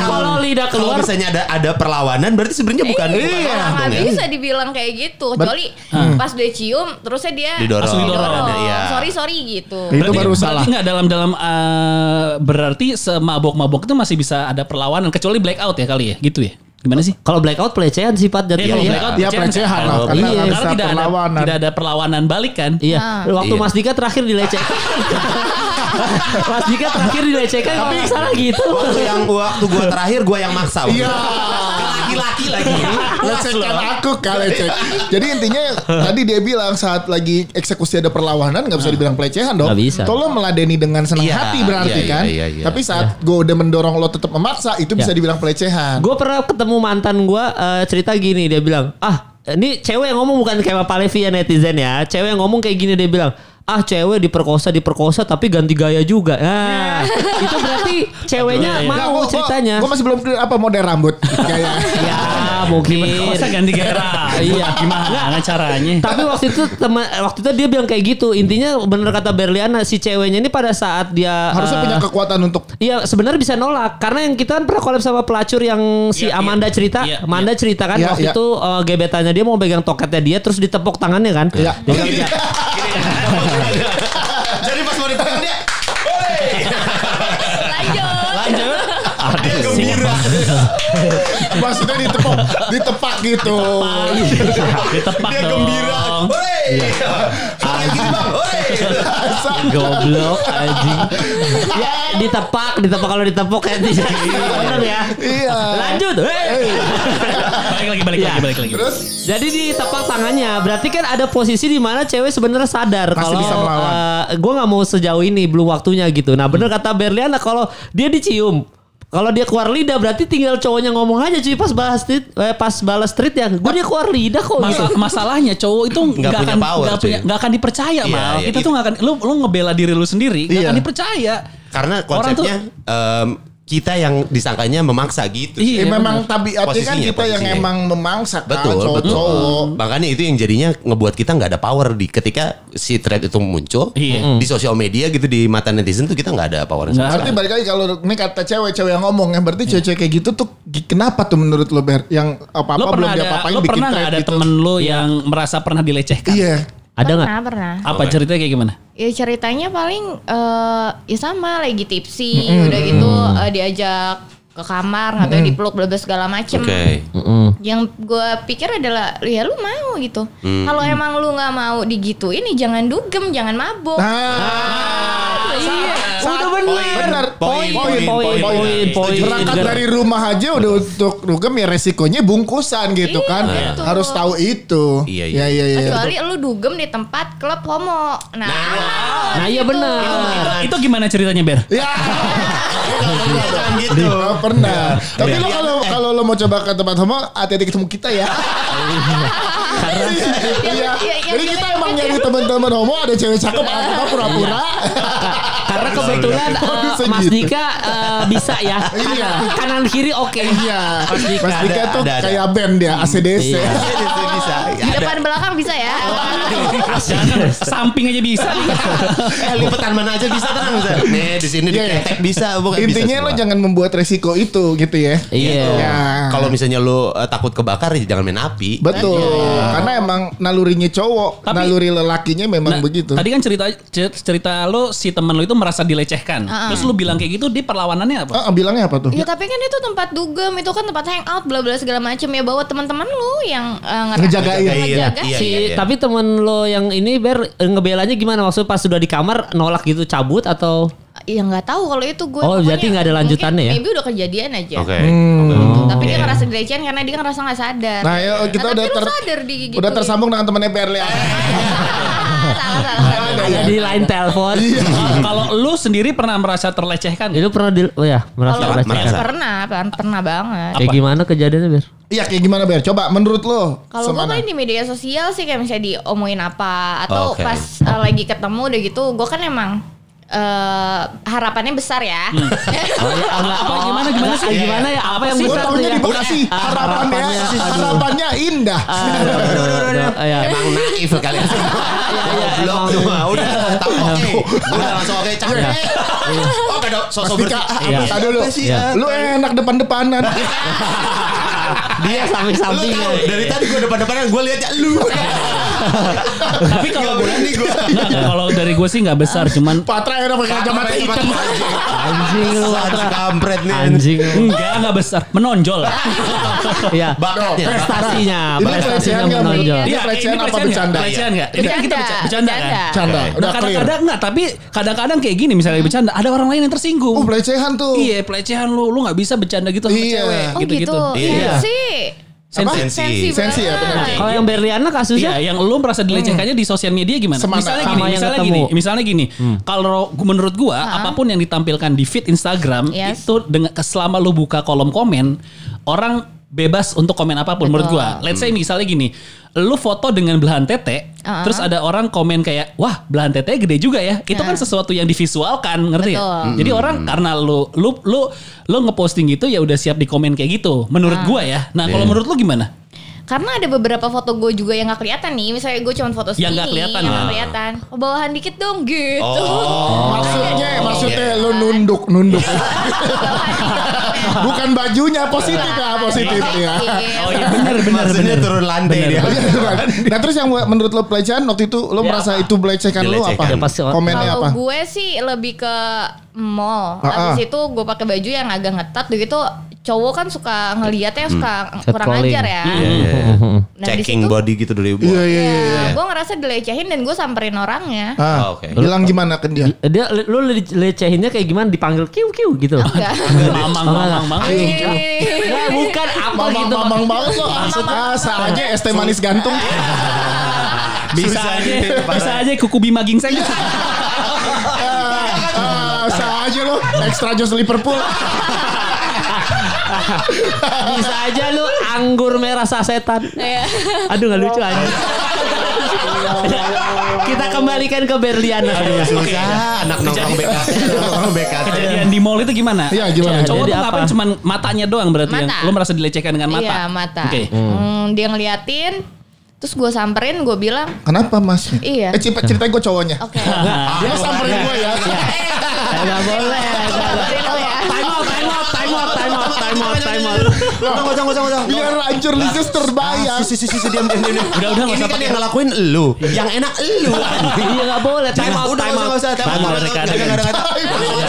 B: kalau tidak
C: Kalau
B: keluar
C: misalnya ada ada perlawanan berarti sebenarnya bukan bukan
A: Iya,
C: orang
A: nggak
C: dong ya.
A: bisa dibilang kayak gitu. Kecuali pas udah cium, terusnya dia
C: Didorong.
A: langsung
C: Didorong, iya.
A: Sorry sorry gitu.
D: Itu baru salah.
E: Berarti nggak dalam-dalam eh, berarti semabok-mabok itu masih bisa ada perlawanan kecuali blackout ya kali ya gitu ya. Gimana sih?
B: kalau blackout pelecehan sifat dan
E: Iya, kalau
B: iya.
E: blackout
D: Iya,
E: pelecehan
D: pelecehan
E: kan?
D: lah, karena
E: Iya,
D: nggak bisa
E: tidak ada
D: perlawanan.
E: tidak ada perlawanan balik kan?
B: Iya, waktu
C: Iya.
B: Mas Dika terakhir dilecehkan. Mas Dika terakhir dilecehkan kalau nggak salah gitu.
C: Waktu yang waktu gua terakhir gua yang maksa. waktu
D: Iya. kan?
C: itu. Kan Laki-laki lagi.
D: Lecehkan aku kali cek. Jadi intinya tadi dia bilang saat lagi eksekusi ada perlawanan nggak bisa dibilang pelecehan dong.
B: Nggak bisa.
D: Tolong meladeni dengan senang
C: Ah. Iya,
D: hati berarti
C: iya, iya,
D: kan.
C: iya, iya.
D: Tapi saat gue udah mendorong lo tetap memaksa itu bisa dibilang pelecehan.
B: Gue pernah ketemu mantan gue cerita gini dia bilang ah ini cewek yang ngomong bukan kayak Palevi ya netizen ya cewek yang ngomong kayak gini dia bilang ah cewek diperkosa diperkosa tapi ganti gaya juga nah itu berarti ceweknya
D: iya.
B: mau ceritanya
D: Gue masih belum clear apa model rambut Iya, kayak.
B: ya mungkin
E: Masa ganti gairah?
B: Iya.
E: Gimana caranya?
B: tapi waktu itu teman waktu itu dia bilang kayak gitu intinya bener kata Berliana si ceweknya ini pada saat dia
D: Harusnya
B: eh,
D: punya kekuatan untuk
B: Iya sebenarnya bisa nolak karena yang kita kan pernah collab sama pelacur yang si
E: Iya,
B: Amanda
E: iya.
B: cerita,
E: Iya,
B: Amanda cerita kan
D: Iya,
B: waktu
D: iya.
B: itu eh, gebetannya dia mau pegang toketnya dia terus ditepok tangannya kan.
D: Iya.
B: Dia bilang, "Ya,
C: Jadi pas mau ditekan dia
A: Lanjut.
E: Lanjut.
C: dia gembira.
D: maksudnya ditepak, ditepak gitu.
C: Iya.
E: Ditepak
C: Dia
E: dong.
C: gembira. Hore. Kayak gini bang. Hore.
E: Goblok anjing.
B: ya ditepak, ditepak kalau ditepok kayak tidak bener ya.
D: Iya. Eh,
B: Lanjut. Hey.
E: Balik lagi balik
C: Iya.
E: lagi balik lagi.
D: Terus
B: Jadi ditepok tangannya berarti kan ada posisi di mana cewek sebenarnya sadar
D: Masih
B: kalau
D: bisa melawan.
B: gue nggak mau sejauh ini belum waktunya gitu. Nah bener kata Berliana kalau dia dicium kalau dia keluar lidah berarti tinggal cowoknya ngomong aja cuy pas balas tweet eh, pas balas tweet ya gue dia keluar lidah kok gitu.
E: Masa- masalahnya cowok itu nggak
C: Iya. punya
E: akan
C: power,
E: nggak
C: cuy.
E: punya- nggak akan dipercaya
C: Iya,
E: mal
C: iya,
E: kita
C: itu.
E: tuh nggak akan lu lu ngebela diri lu sendiri nggak
D: Iya.
E: akan dipercaya
C: Karena konsepnya em, kita yang disangkanya memaksa gitu.
D: eh,
E: Iya,
D: memang tabiatnya kan
C: Posisinya,
D: kita yang
C: posisinya.
D: emang memaksa kan,
C: Betul, betul.
D: cowok-cowok.
C: Makanya itu yang jadinya ngebuat kita nggak ada power di ketika si thread itu muncul
E: Iya.
C: di sosial media gitu di mata netizen tuh kita nggak ada power.
E: Nggak.
D: Berarti balik lagi kalau ini kata cewek, cewek yang ngomong yang berarti cewek-cewek kayak gitu tuh gi- kenapa tuh menurut lo Ber? Yang
E: lu
D: apa-apa belum
E: pernah
D: dia
E: ada
D: apain
E: lu
D: bikin
E: pernah nggak
D: thread
E: ada
D: gitu.
E: temen kan? lu
C: Iya.
E: yang merasa pernah dilecehkan
D: Iya.
B: Ada nggak?
A: Pernah, pernah.
E: apa ceritanya kayak gimana
A: Ya ceritanya paling eh ya sama lagi tipsi udah gitu eh, diajak ke kamar katanya dipeluk bla bla segala macem.
C: Oke.
A: Yang gue pikir adalah ya lu mau gitu.
C: Hmm.
A: Kalau emang lu nggak mau digituin ya jangan dugem, jangan mabok.
B: Nah,
D: Nah,
B: Iya,
D: saat-
B: udah bener.
D: bener.
C: Poin, poin,
B: poin, poin, poin.
D: berangkat dari rumah aja udah untuk rugem ya resikonya bungkusan gitu
A: Iya,
D: kan.
A: betul.
D: Harus tahu itu.
C: Iya, iya.
D: iya. iya, iya.
A: Kecuali lu dugem di tempat klub homo. Nah, aman.
B: Nah iya bener.
E: itu, itu gimana ceritanya ber
D: Ya.
C: Jangan gitu.
D: Nggak Oh, pernah. Tapi lo
C: Iya.
D: kalau kalau lo mau coba ke tempat homo, hati-hati ketemu kita ya. Iya.
A: iya, iya,
D: Jadi
A: iya,
D: kita
A: iya,
D: emang
A: iya.
D: nyari teman-teman homo ada cewek cakep, apa pura-pura.
B: Karena kebetulan
D: Waduh,
B: eh, Mas
D: segitu.
B: Dika eh, bisa ya.
D: gitu. Iya.
B: Kanan kiri oke.
D: Iya.
C: Mas Dika.
D: Mas Dika
C: Ada,
D: tuh
C: ada, Hmm, ada.
D: kayak band dia, ACDC.
B: Iya.
C: Itu bisa.
A: Di depan belakang bisa ya.
E: jangan samping aja bisa
C: Eh, lipetan mana aja bisa tenang bisa. Nih di sini
D: Iya, iya.
C: diketek bisa bukan kan bisa
D: Intinya lo
C: semua.
D: jangan membuat resiko itu gitu ya.
B: Iya.
D: Ya.
C: Kalau misalnya lu eh, takut kebakar ya jangan main api.
D: Betul.
C: Iya.
D: Karena emang nalurinya cowok,
E: Tapi-
D: naluri lelakinya memang
E: Nah,
D: begitu.
E: tadi kan cerita cer- cerita lu si teman lu itu merasa dilecehkan terus lu bilang kayak gitu dia perlawanannya apa
D: Ah, ah, bilangnya apa tuh?
A: Ya tapi kan itu tempat dugem, itu kan tempat hangout, bla bla segala macem ya bawa teman-teman lu yang eh, ngerasa-
D: Ngejagain.
A: Ngejagain.
C: Iya,
B: Si,
C: iya, iya.
B: tapi temen lo yang ini ber eh, ngebelanya gimana maksudnya pas sudah di kamar nolak gitu cabut atau
A: Ya nggak tahu kalau itu gue.
B: Oh,
A: pokoknya
B: berarti nggak ada
A: mungkin
B: lanjutannya ya? Oh.
A: Maybe udah kejadian aja.
C: Oke.
D: Hmm.
A: Gitu. Tapi dia ngerasa dilecehin karena dia ngerasa nggak sadar.
D: Nah, ya kita
A: tapi
D: udah
A: lu
D: ter
A: sadar di gitu.
D: udah tersambung dengan teman EPR Lian.
A: salah, salah, salah.
D: Ada Iya. ya?
B: ada di line telepon
E: Nah, kalau lu sendiri pernah merasa terlecehkan
B: itu pernah di oh ya merasa
A: Kalau
B: merasa.
C: merasa.
A: pernah, pernah, pernah banget.
B: kayak gimana kejadiannya ber
D: Iya kayak gimana Ber? Coba menurut lo
A: Kalau gue
D: semana?
A: paling di media
E: Oh,
A: sosial sih kayak misalnya diomongin apa atau eh,
C: Oke.
A: pas uh, lagi ketemu udah gitu, gue kan emang eh, harapannya besar ya.
E: Hmm. apa gimana gimana sih?
B: Gimana ya? Apa yang
D: Gue
B: besar tuh
D: tahunya
B: ya?
D: di Bekasi. Harapannya,
B: harapannya, aduh.
D: harapannya indah.
B: Aduh, aduh, aduh, aduh. Ya.
C: Emang naif kalian semua.
B: iya,
C: Goblok
B: emang.
C: lu mah. Udah tak oke. Udah langsung oke capek.
B: Iya.
C: Oh kada sosok
D: Pasti
C: bersih.
D: Kak,
C: Iya.
D: apa tadi lu?
C: Sih, ah.
D: Lu enak depan-depanan.
B: Dia
C: Lu
B: samping-sampingnya.
C: tahu dari tadi gue depan-depanan gue liatnya lu.
B: Iya.
E: Tapi
C: Gak
E: kalau gue
C: berani gue.
E: kalau dari gue sih nggak besar, cuman
D: Patra enak pakai kacamata hitam.
B: Anjing lu Iya, Patra.
C: Kampret nih.
B: Anjing lu.
E: enggak nggak besar, menonjol.
B: Iya.
C: Bakatnya.
B: Prestasinya,
D: Ini
B: prestasinya
D: pelecehan nggak? Bu?
B: menonjol.
D: Ini
E: Iya,
D: pelecehan
E: ini
D: apa
E: pelecehan
D: bercanda?
E: nggak? Pelecehan nggak? Ini kan kita
A: Bercanda,
E: bercanda kan?
A: bercanda.
D: Canda, udah clear.
E: Nah,
D: Hmm.
E: kadang-kadang enggak, tapi kadang-kadang kayak gini misalnya bercanda, ada orang lain yang tersinggung.
D: Oh pelecehan tuh.
E: Iya, pelecehan lu, lu nggak bisa bercanda gitu sama
D: Iya.
E: cewek
D: Oh,
A: Oh gitu.
E: gitu-gitu.
A: Iya
B: Iya.
A: sih.
E: Sensi.
C: Sensi.
D: Sensi ya,
A: banget.
D: benar.
B: Kalau yang Berliana kasusnya
E: Iya, yang lu merasa dilecehkannya di sosial media gimana?
D: Semana.
E: Misalnya
D: Sama
E: gini,
B: yang
E: misalnya
B: ketemu.
E: gini, misalnya gini. Kalau gu- menurut gua, apapun yang ditampilkan di feed Instagram
A: Yes.
E: itu dengan selama lu buka kolom komen, orang bebas untuk komen apapun menurut gua. Let's say misalnya gini, lu foto dengan belahan tete,
A: Uh-uh.
E: terus ada orang komen kayak, "Wah, belahan tete gede juga ya." Itu kan sesuatu yang divisualkan, ngerti ya?
A: Betul.
E: Jadi orang karena lu lu lu lu ngeposting gitu ya udah siap dikomen kayak gitu. Menurut gua ya. Nah, kalau menurut lu gimana?
A: Karena ada beberapa foto gue juga yang gak kelihatan nih. Misalnya gue cuma foto segini.
E: Yang nggak kelihatan.
A: Yang nggak
E: Ah.
A: kelihatan. Oh, bawahan dikit dong gitu.
D: Maksudnya,
C: Oh. Iya.
D: maksudnya lu nunduk, nunduk.
A: Bawahan dikit.
D: Bukan bajunya positif ya, positif ya.
A: Positif.
E: Oh iya benar benar
C: Maksudnya
E: benar.
C: turun lantai dia.
D: Nah terus yang menurut lo pelecehan waktu itu lo merasa itu melecehkan lo apa?
C: Dilecehkan.
B: Ya, pasti-
D: Komennya
A: Kalau
D: apa?
A: gue sih lebih ke mall.
D: Ah, ah.
A: Habis itu gue pakai baju yang agak ngetat gitu. Cowok kan suka ngeliatnya
E: Hmm.
A: suka kurang
B: Catcalling.
A: ajar ya.
C: Iya, iya, iya.
A: Nah, di situ-
C: Checking body gitu dulu ibu.
D: Iya iya iya.
A: Nah, gue ngerasa dilecehin dan gue samperin orangnya.
D: Ah,
C: oke.
D: bilang gimana ke dia?
B: dia lu le- lecehinnya kayak gimana dipanggil kiu kiu gitu loh.
A: Enggak.
E: Mamang,
B: Mamang,
E: mamang, mamang.
A: Iya.
B: Nah, bukan apa
D: Mamang
B: gitu.
D: mamang banget lo. Ah, saatnya es teh manis gantung.
E: Bisa
C: Susah
E: aja,
C: gitu, parah.
E: Iya. bisa aja kuku bima gingseng.
D: Ah, Sah aja lo extra jus Liverpool.
B: Bisa aja lu anggur merah sasetan.
A: Iya.
B: Aduh nggak lucu aja. Kita kembalikan ke Berliana.
C: Susah anak nongkrong BKT. Nongkrong BKT.
E: Kejadian di mall itu gimana?
D: Iya, gimana?
E: Cowok
B: Jadi
E: tuh ngapain
B: apa?
E: cuman matanya doang berarti yang
A: Mata.
E: lu merasa dilecehkan dengan mata.
A: Iya mata.
E: Oke.
A: Hmm, dia ngeliatin, terus gue samperin, gue bilang,
D: Kenapa mas?
A: Iya.
D: Eh cerita cerita gue cowoknya.
A: oke.
D: Dia samperin gue ya.
B: Enggak boleh.
A: Samperin lo ya.
B: Time out, time out, time out, time out, time out, time out.
C: Tunggu, tunggu, tunggu, tunggu.
D: Biar hancur Lizis terbayang.
C: Sisi, sisi, diam, diam, diam.
E: Udah, udah, nggak
C: Ini kan
E: usah pakai.
C: yang ngelakuin lu. Yang enak lu.
B: Iya nggak boleh. Time out,
C: Udah,
B: time
C: nggak
B: out.
C: usah, nggak usah.
E: Time out,
C: Nggak ada
E: rekan,
C: nggak ada kata.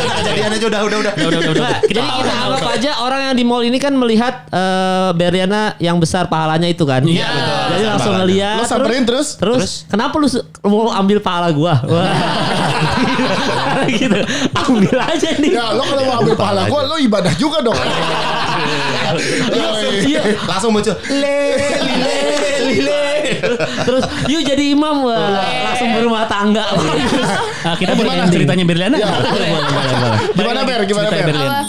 C: Kejadian aja udah, udah, udah.
E: Udah, udah, udah.
B: Nah, jadi kita anggap aja orang yang di mall ini kan melihat eh, Beriana yang besar pahalanya itu kan.
E: Iya, betul.
B: Jadi langsung
C: Pahalanya.
B: ngeliat.
D: Lo samperin terus?
B: Terus, kenapa lu se- mau ambil pahala gua? Wah. gitu. Ambil aja nih.
D: Ya lo kalau mau ambil pahala gue lo ibadah juga dong.
B: Iya.
C: Langsung muncul. Le, le, le, le.
B: Terus yuk jadi imam wah. Langsung berumah tangga.
E: Nah, kita boleh
D: Gimana?
E: yang ceritanya Berliana?
D: Iya.
E: Boleh, boleh, boleh, boleh.
D: Gimana,
E: Balik
D: Ber?
E: lagi
D: Gimana,
E: ceritanya
D: Ber?
E: Berliana.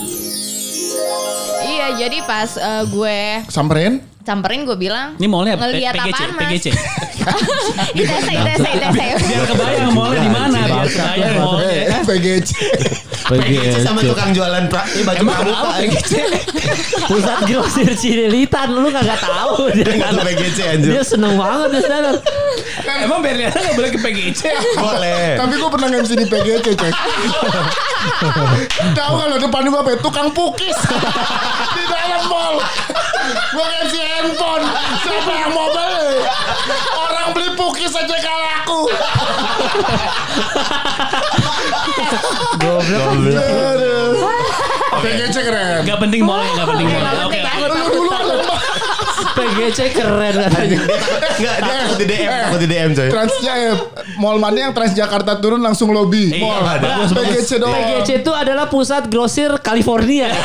A: Iya, jadi pas eh, gue
D: Samperin?
A: samperin, gue bilang,
E: Ini mallnya P-
A: ngeliat
E: PGC,
A: apaan mas?
E: PGC.
A: ITC, ITC, ITC.
E: Biar kebayang mallnya di mana, biar kebayang mallnya.
D: Eh, PGC.
B: gitu.
C: Pegece sama tukang jualan pra, ini baju
E: Emang
C: pramuka.
E: kenapa PGC?
B: Pusat grosir Cililitan lu kagak tahu dia.
C: Enggak tuh PGC anjir.
B: Dia seneng banget dia seneng.
E: Emang Berliana nggak boleh ke PGC?
C: Boleh.
D: Tapi gue pernah MC di PGC, Cek. Tahu kalau depan gue apa? ya? Tukang pukis. di dalam mall. Gue MC handphone. Siapa yang mau beli? Orang beli pukis aja kalah aku. Iya. Aduh. PGC keren.
E: Gak penting mallnya, gak penting mallnya. Oke.
A: ya.
D: Lu dulu lempar.
B: PGC keren katanya.
C: Enggak, dia takut di DM, takut di DM coy.
D: Transnya eh, mall mana yang Transjakarta turun langsung lobby.
E: Iya,
D: Mall.
C: ada.
D: PGC doang.
B: PGC itu adalah pusat grosir California.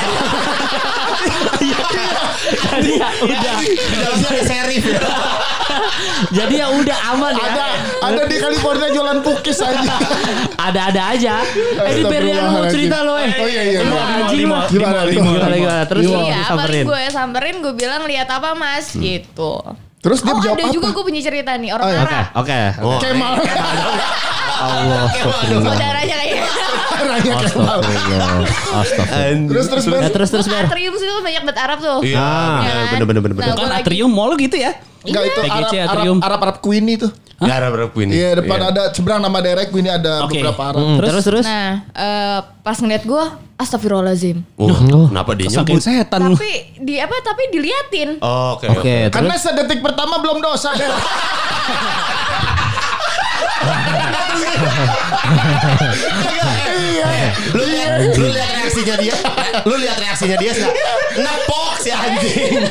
B: Jadi ya udah.
C: Di dalamnya ada serif ya.
B: Jadi ya udah aman ya.
D: Ada, ada di California jualan pukis aja.
B: Ada-ada aja. Eh, Ini Beriana mau
D: Astagfirullahaladzim.
B: cerita lo eh.
D: Oh iya iya.
B: Lu
D: iya.
B: anjing lu.
E: Gimana,
D: Gimana,
B: Gimana gimana terus
A: iya, paling
B: disamperin.
C: Hmm.
A: gue samperin gue bilang lihat apa mas gitu.
D: Terus dia
A: Oh
D: jawab
A: ada
D: apa?
A: juga gue punya cerita nih orang
D: Oh, iya.
A: marah.
B: Nah, Oke.
C: Oh,
D: Kemal.
B: Allah. Astagfirullah.
A: Saudaranya kayaknya.
D: Raya Kemal.
B: Astagfirullah. Astagfirullah.
C: An-
D: Terus terus
B: Nah,
D: Ben.
B: terus terus Ber.
A: Atrium sih tuh banyak banget Arab tuh.
C: Iya,
B: Ah.
C: bener, bener bener bener bener.
A: Nah,
E: Bukan
A: Gua lagi-
E: Kan atrium mall gitu ya.
D: Enggak itu
E: PGC
D: Arab Arab
E: Atrium.
D: Arab Arab Queen itu.
C: Gara berapa ini?
D: Iya depan ada seberang nama daerah Queen ada
E: Oke.
D: beberapa Arab.
B: Hmm, Terus terus.
A: Nah eh, pas ngeliat gue astagfirullahalazim.
C: Oh, kenapa dia
D: Iya,
E: Saking
C: nyebut?
E: setan. lu.
A: Tapi di apa tapi diliatin.
C: Oh, Oke.
B: Oke, terus
D: Karena sedetik pertama belum dosa. Iya.
C: Lu lihat lu lihat reaksinya dia. Lu lihat reaksinya dia enggak? Nepok si anjing.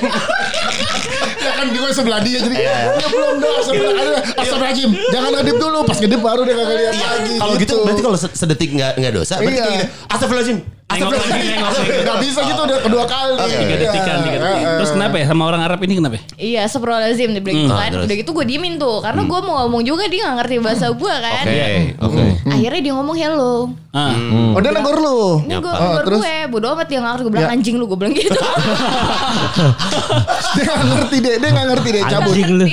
D: Ya kan gue sebelah dia jadi ya belum dosa.
E: Gitu.
D: Astagfirullahaladzim. Jangan ngedip dulu pas ngedip baru dia kagak lihat
E: Iya.
D: lagi.
C: Kalau gitu berarti kalau se- sedetik enggak enggak dosa, berarti
D: Iya.
C: kayak gitu. Astagfirullahalazim.
E: lagi, nengok lagi.
C: Astagfirullahalazim.
D: Gak bisa gitu udah kedua kali.
E: Tiga detikan,
D: Eh,
E: tiga detik. Terus kenapa ya sama orang Arab ini kenapa? ya?
A: Iya, astagfirullahalazim dia bilang gitu
C: Hmm.
A: kan.
C: Ah, terus. Hmm.
A: Udah gitu gue diemin tuh karena gue mau ngomong juga dia gak ngerti bahasa gue kan.
C: Oke, Hmm. oke.
A: Akhirnya dia ngomong hello.
E: Ah.
D: Oh dia negor lu.
A: Ini gue
C: Nyapa.
A: keluar
D: terus?
A: gue, bodo amat dia gak ngerti. Gue bilang anjing lu, gue bilang gitu.
D: Dia gak ngerti deh. Dia gak ngerti deh cabut.
B: anjing lu.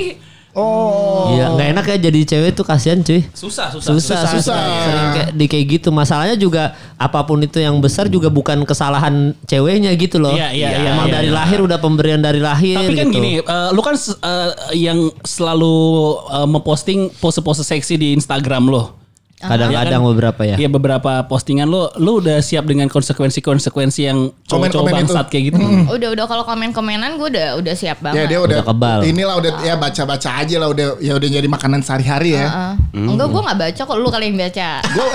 D: Oh.
B: Iya, nggak enak ya jadi cewek tuh kasihan cuy.
E: Susah, susah,
B: susah, susah,
D: susah.
B: Sering kayak, di kayak gitu masalahnya juga apapun itu yang besar juga bukan kesalahan ceweknya gitu loh
E: Iya, iya, iya,
B: emang
E: iya,
B: dari
E: iya.
B: lahir udah pemberian dari lahir
E: Tapi kan
B: gitu.
E: gini, eh, lu kan se- eh, yang selalu eh, memposting pose-pose seksi di Instagram lo.
B: kadang-kadang
E: Iya kan?
B: beberapa ya
E: Iya beberapa postingan lo, lu udah siap dengan konsekuensi-konsekuensi yang cowok-cowok
D: Komen-komen itu. Hmm.
E: bangsat kayak gitu.
A: udah udah kalau komen-komenan gue udah udah siap
D: Ya
A: banget.
D: dia udah,
B: Udah kebal.
D: Inilah udah ya baca-baca aja lah udah ya udah jadi makanan sehari-hari ya.
A: Heeh. Enggak, gue gak baca kok. Lu kali yang baca. Gue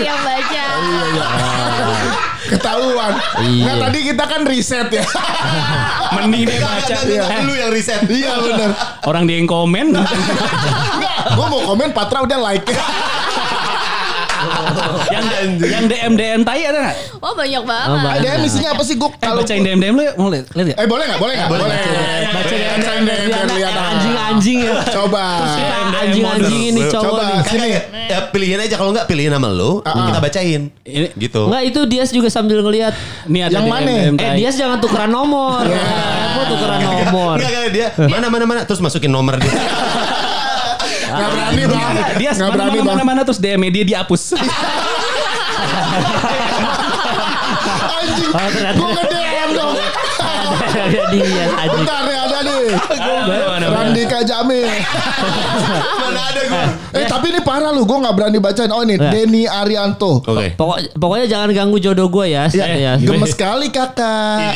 A: yang baca.
D: Oh, iya, Ketahuan.
B: Iya.
D: Nah tadi kita kan riset ya.
E: Mending dia baca.
D: Iya.
C: Lu yang riset.
D: Iya benar.
E: Orang dia yang komen.
D: Gue mau komen Patra udah like.
E: yang yang DM DM tai ada nggak?
A: Oh banyak banget.
B: Oh, banyak.
D: DM isinya apa sih gue
E: Eh,
D: kalau
E: bacain DM DM lu ya, mau lihat lihat ya.
D: Eh boleh nggak? Boleh nggak? Boleh.
B: Baca
D: Bacain
B: DM,
D: DM, biar lihat apa.
B: anjing-anjing ya
D: Coba.
E: Iya.
B: anjing-anjing ini cowok
D: Coba Ah,
B: nih.
D: sini.
C: Ya, pilihin aja kalau enggak pilihin sama lu, kita bacain.
E: Ini-
C: Gitu.
B: Enggak itu Dias juga sambil ngelihat
E: Ini ada
D: Yang
E: DM,
D: mana?
E: DM
B: eh
E: tai.
B: Dias jangan tukeran nomor
E: Iya.
B: Apa tukeran nomor
C: Enggak, enggak dia. Mana mana mana terus masukin nomor dia.
D: Nggak berani bang.
E: dia
D: Nggak
E: mana,
D: berani
E: mana,
D: bang.
E: mana, mana, terus DM dia dihapus.
D: Anjing.
B: Oh, ternyata-
D: Gue nge DM dong.
B: Ada Dias anjing
D: Bentar ya ada nih.
E: Mana, mana, mana.
D: Randika Jamil.
C: mana ada gua.
D: Eh tapi ini parah lu. Gue nggak berani bacain. Oh ini
B: Nah.
D: Denny Arianto.
C: Oke.
B: Pokok, pokoknya jangan ganggu jodoh gue
E: Iya.
B: ya,
D: Ya,
B: ya.
D: gemes sekali kakak.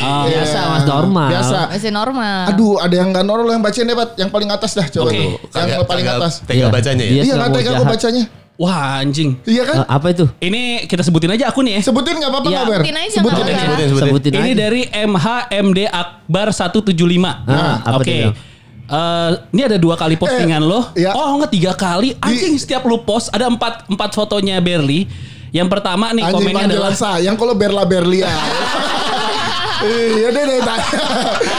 B: Ah,
D: Iya.
B: biasa, Mas, normal.
D: Biasa.
A: Masih normal.
D: Aduh, ada yang nggak normal yang bacain deh, Pat. Yang paling atas dah, coba
C: Oke.
D: tuh. Yang
C: Kagak-
D: Kan paling
C: kagak
D: atas.
C: Tega
B: Iya.
C: bacanya ya.
B: Dia-
D: Iya, nggak
B: nggak mau
D: tega gue
B: jahat.
D: bacanya.
E: Wah anjing.
D: Iya kan?
B: Eh, apa itu?
E: Ini kita sebutin aja akun ya.
D: Sebutin nggak apa-apa
B: Iya.
D: nggak, Ber?
A: Sebutin aja, nggak
D: Sebutin aja.
A: apa-apa.
C: Sebutin sebutin.
B: Sebutin
E: Iya, Ini
B: aja.
E: dari MHMD Akbar 175.
B: Ah, apa
E: Oke.
B: dia bilang?
E: Eh, ini ada dua kali postingan
D: Eh,
E: lo.
D: iya.
E: Oh enggak tiga kali. Anjing setiap lu post ada empat empat fotonya Berli. Yang pertama nih
D: Anjing
E: komennya
D: panggilan
E: adalah
D: sayang kalau Berla Berlia. Iya deh deh tanya.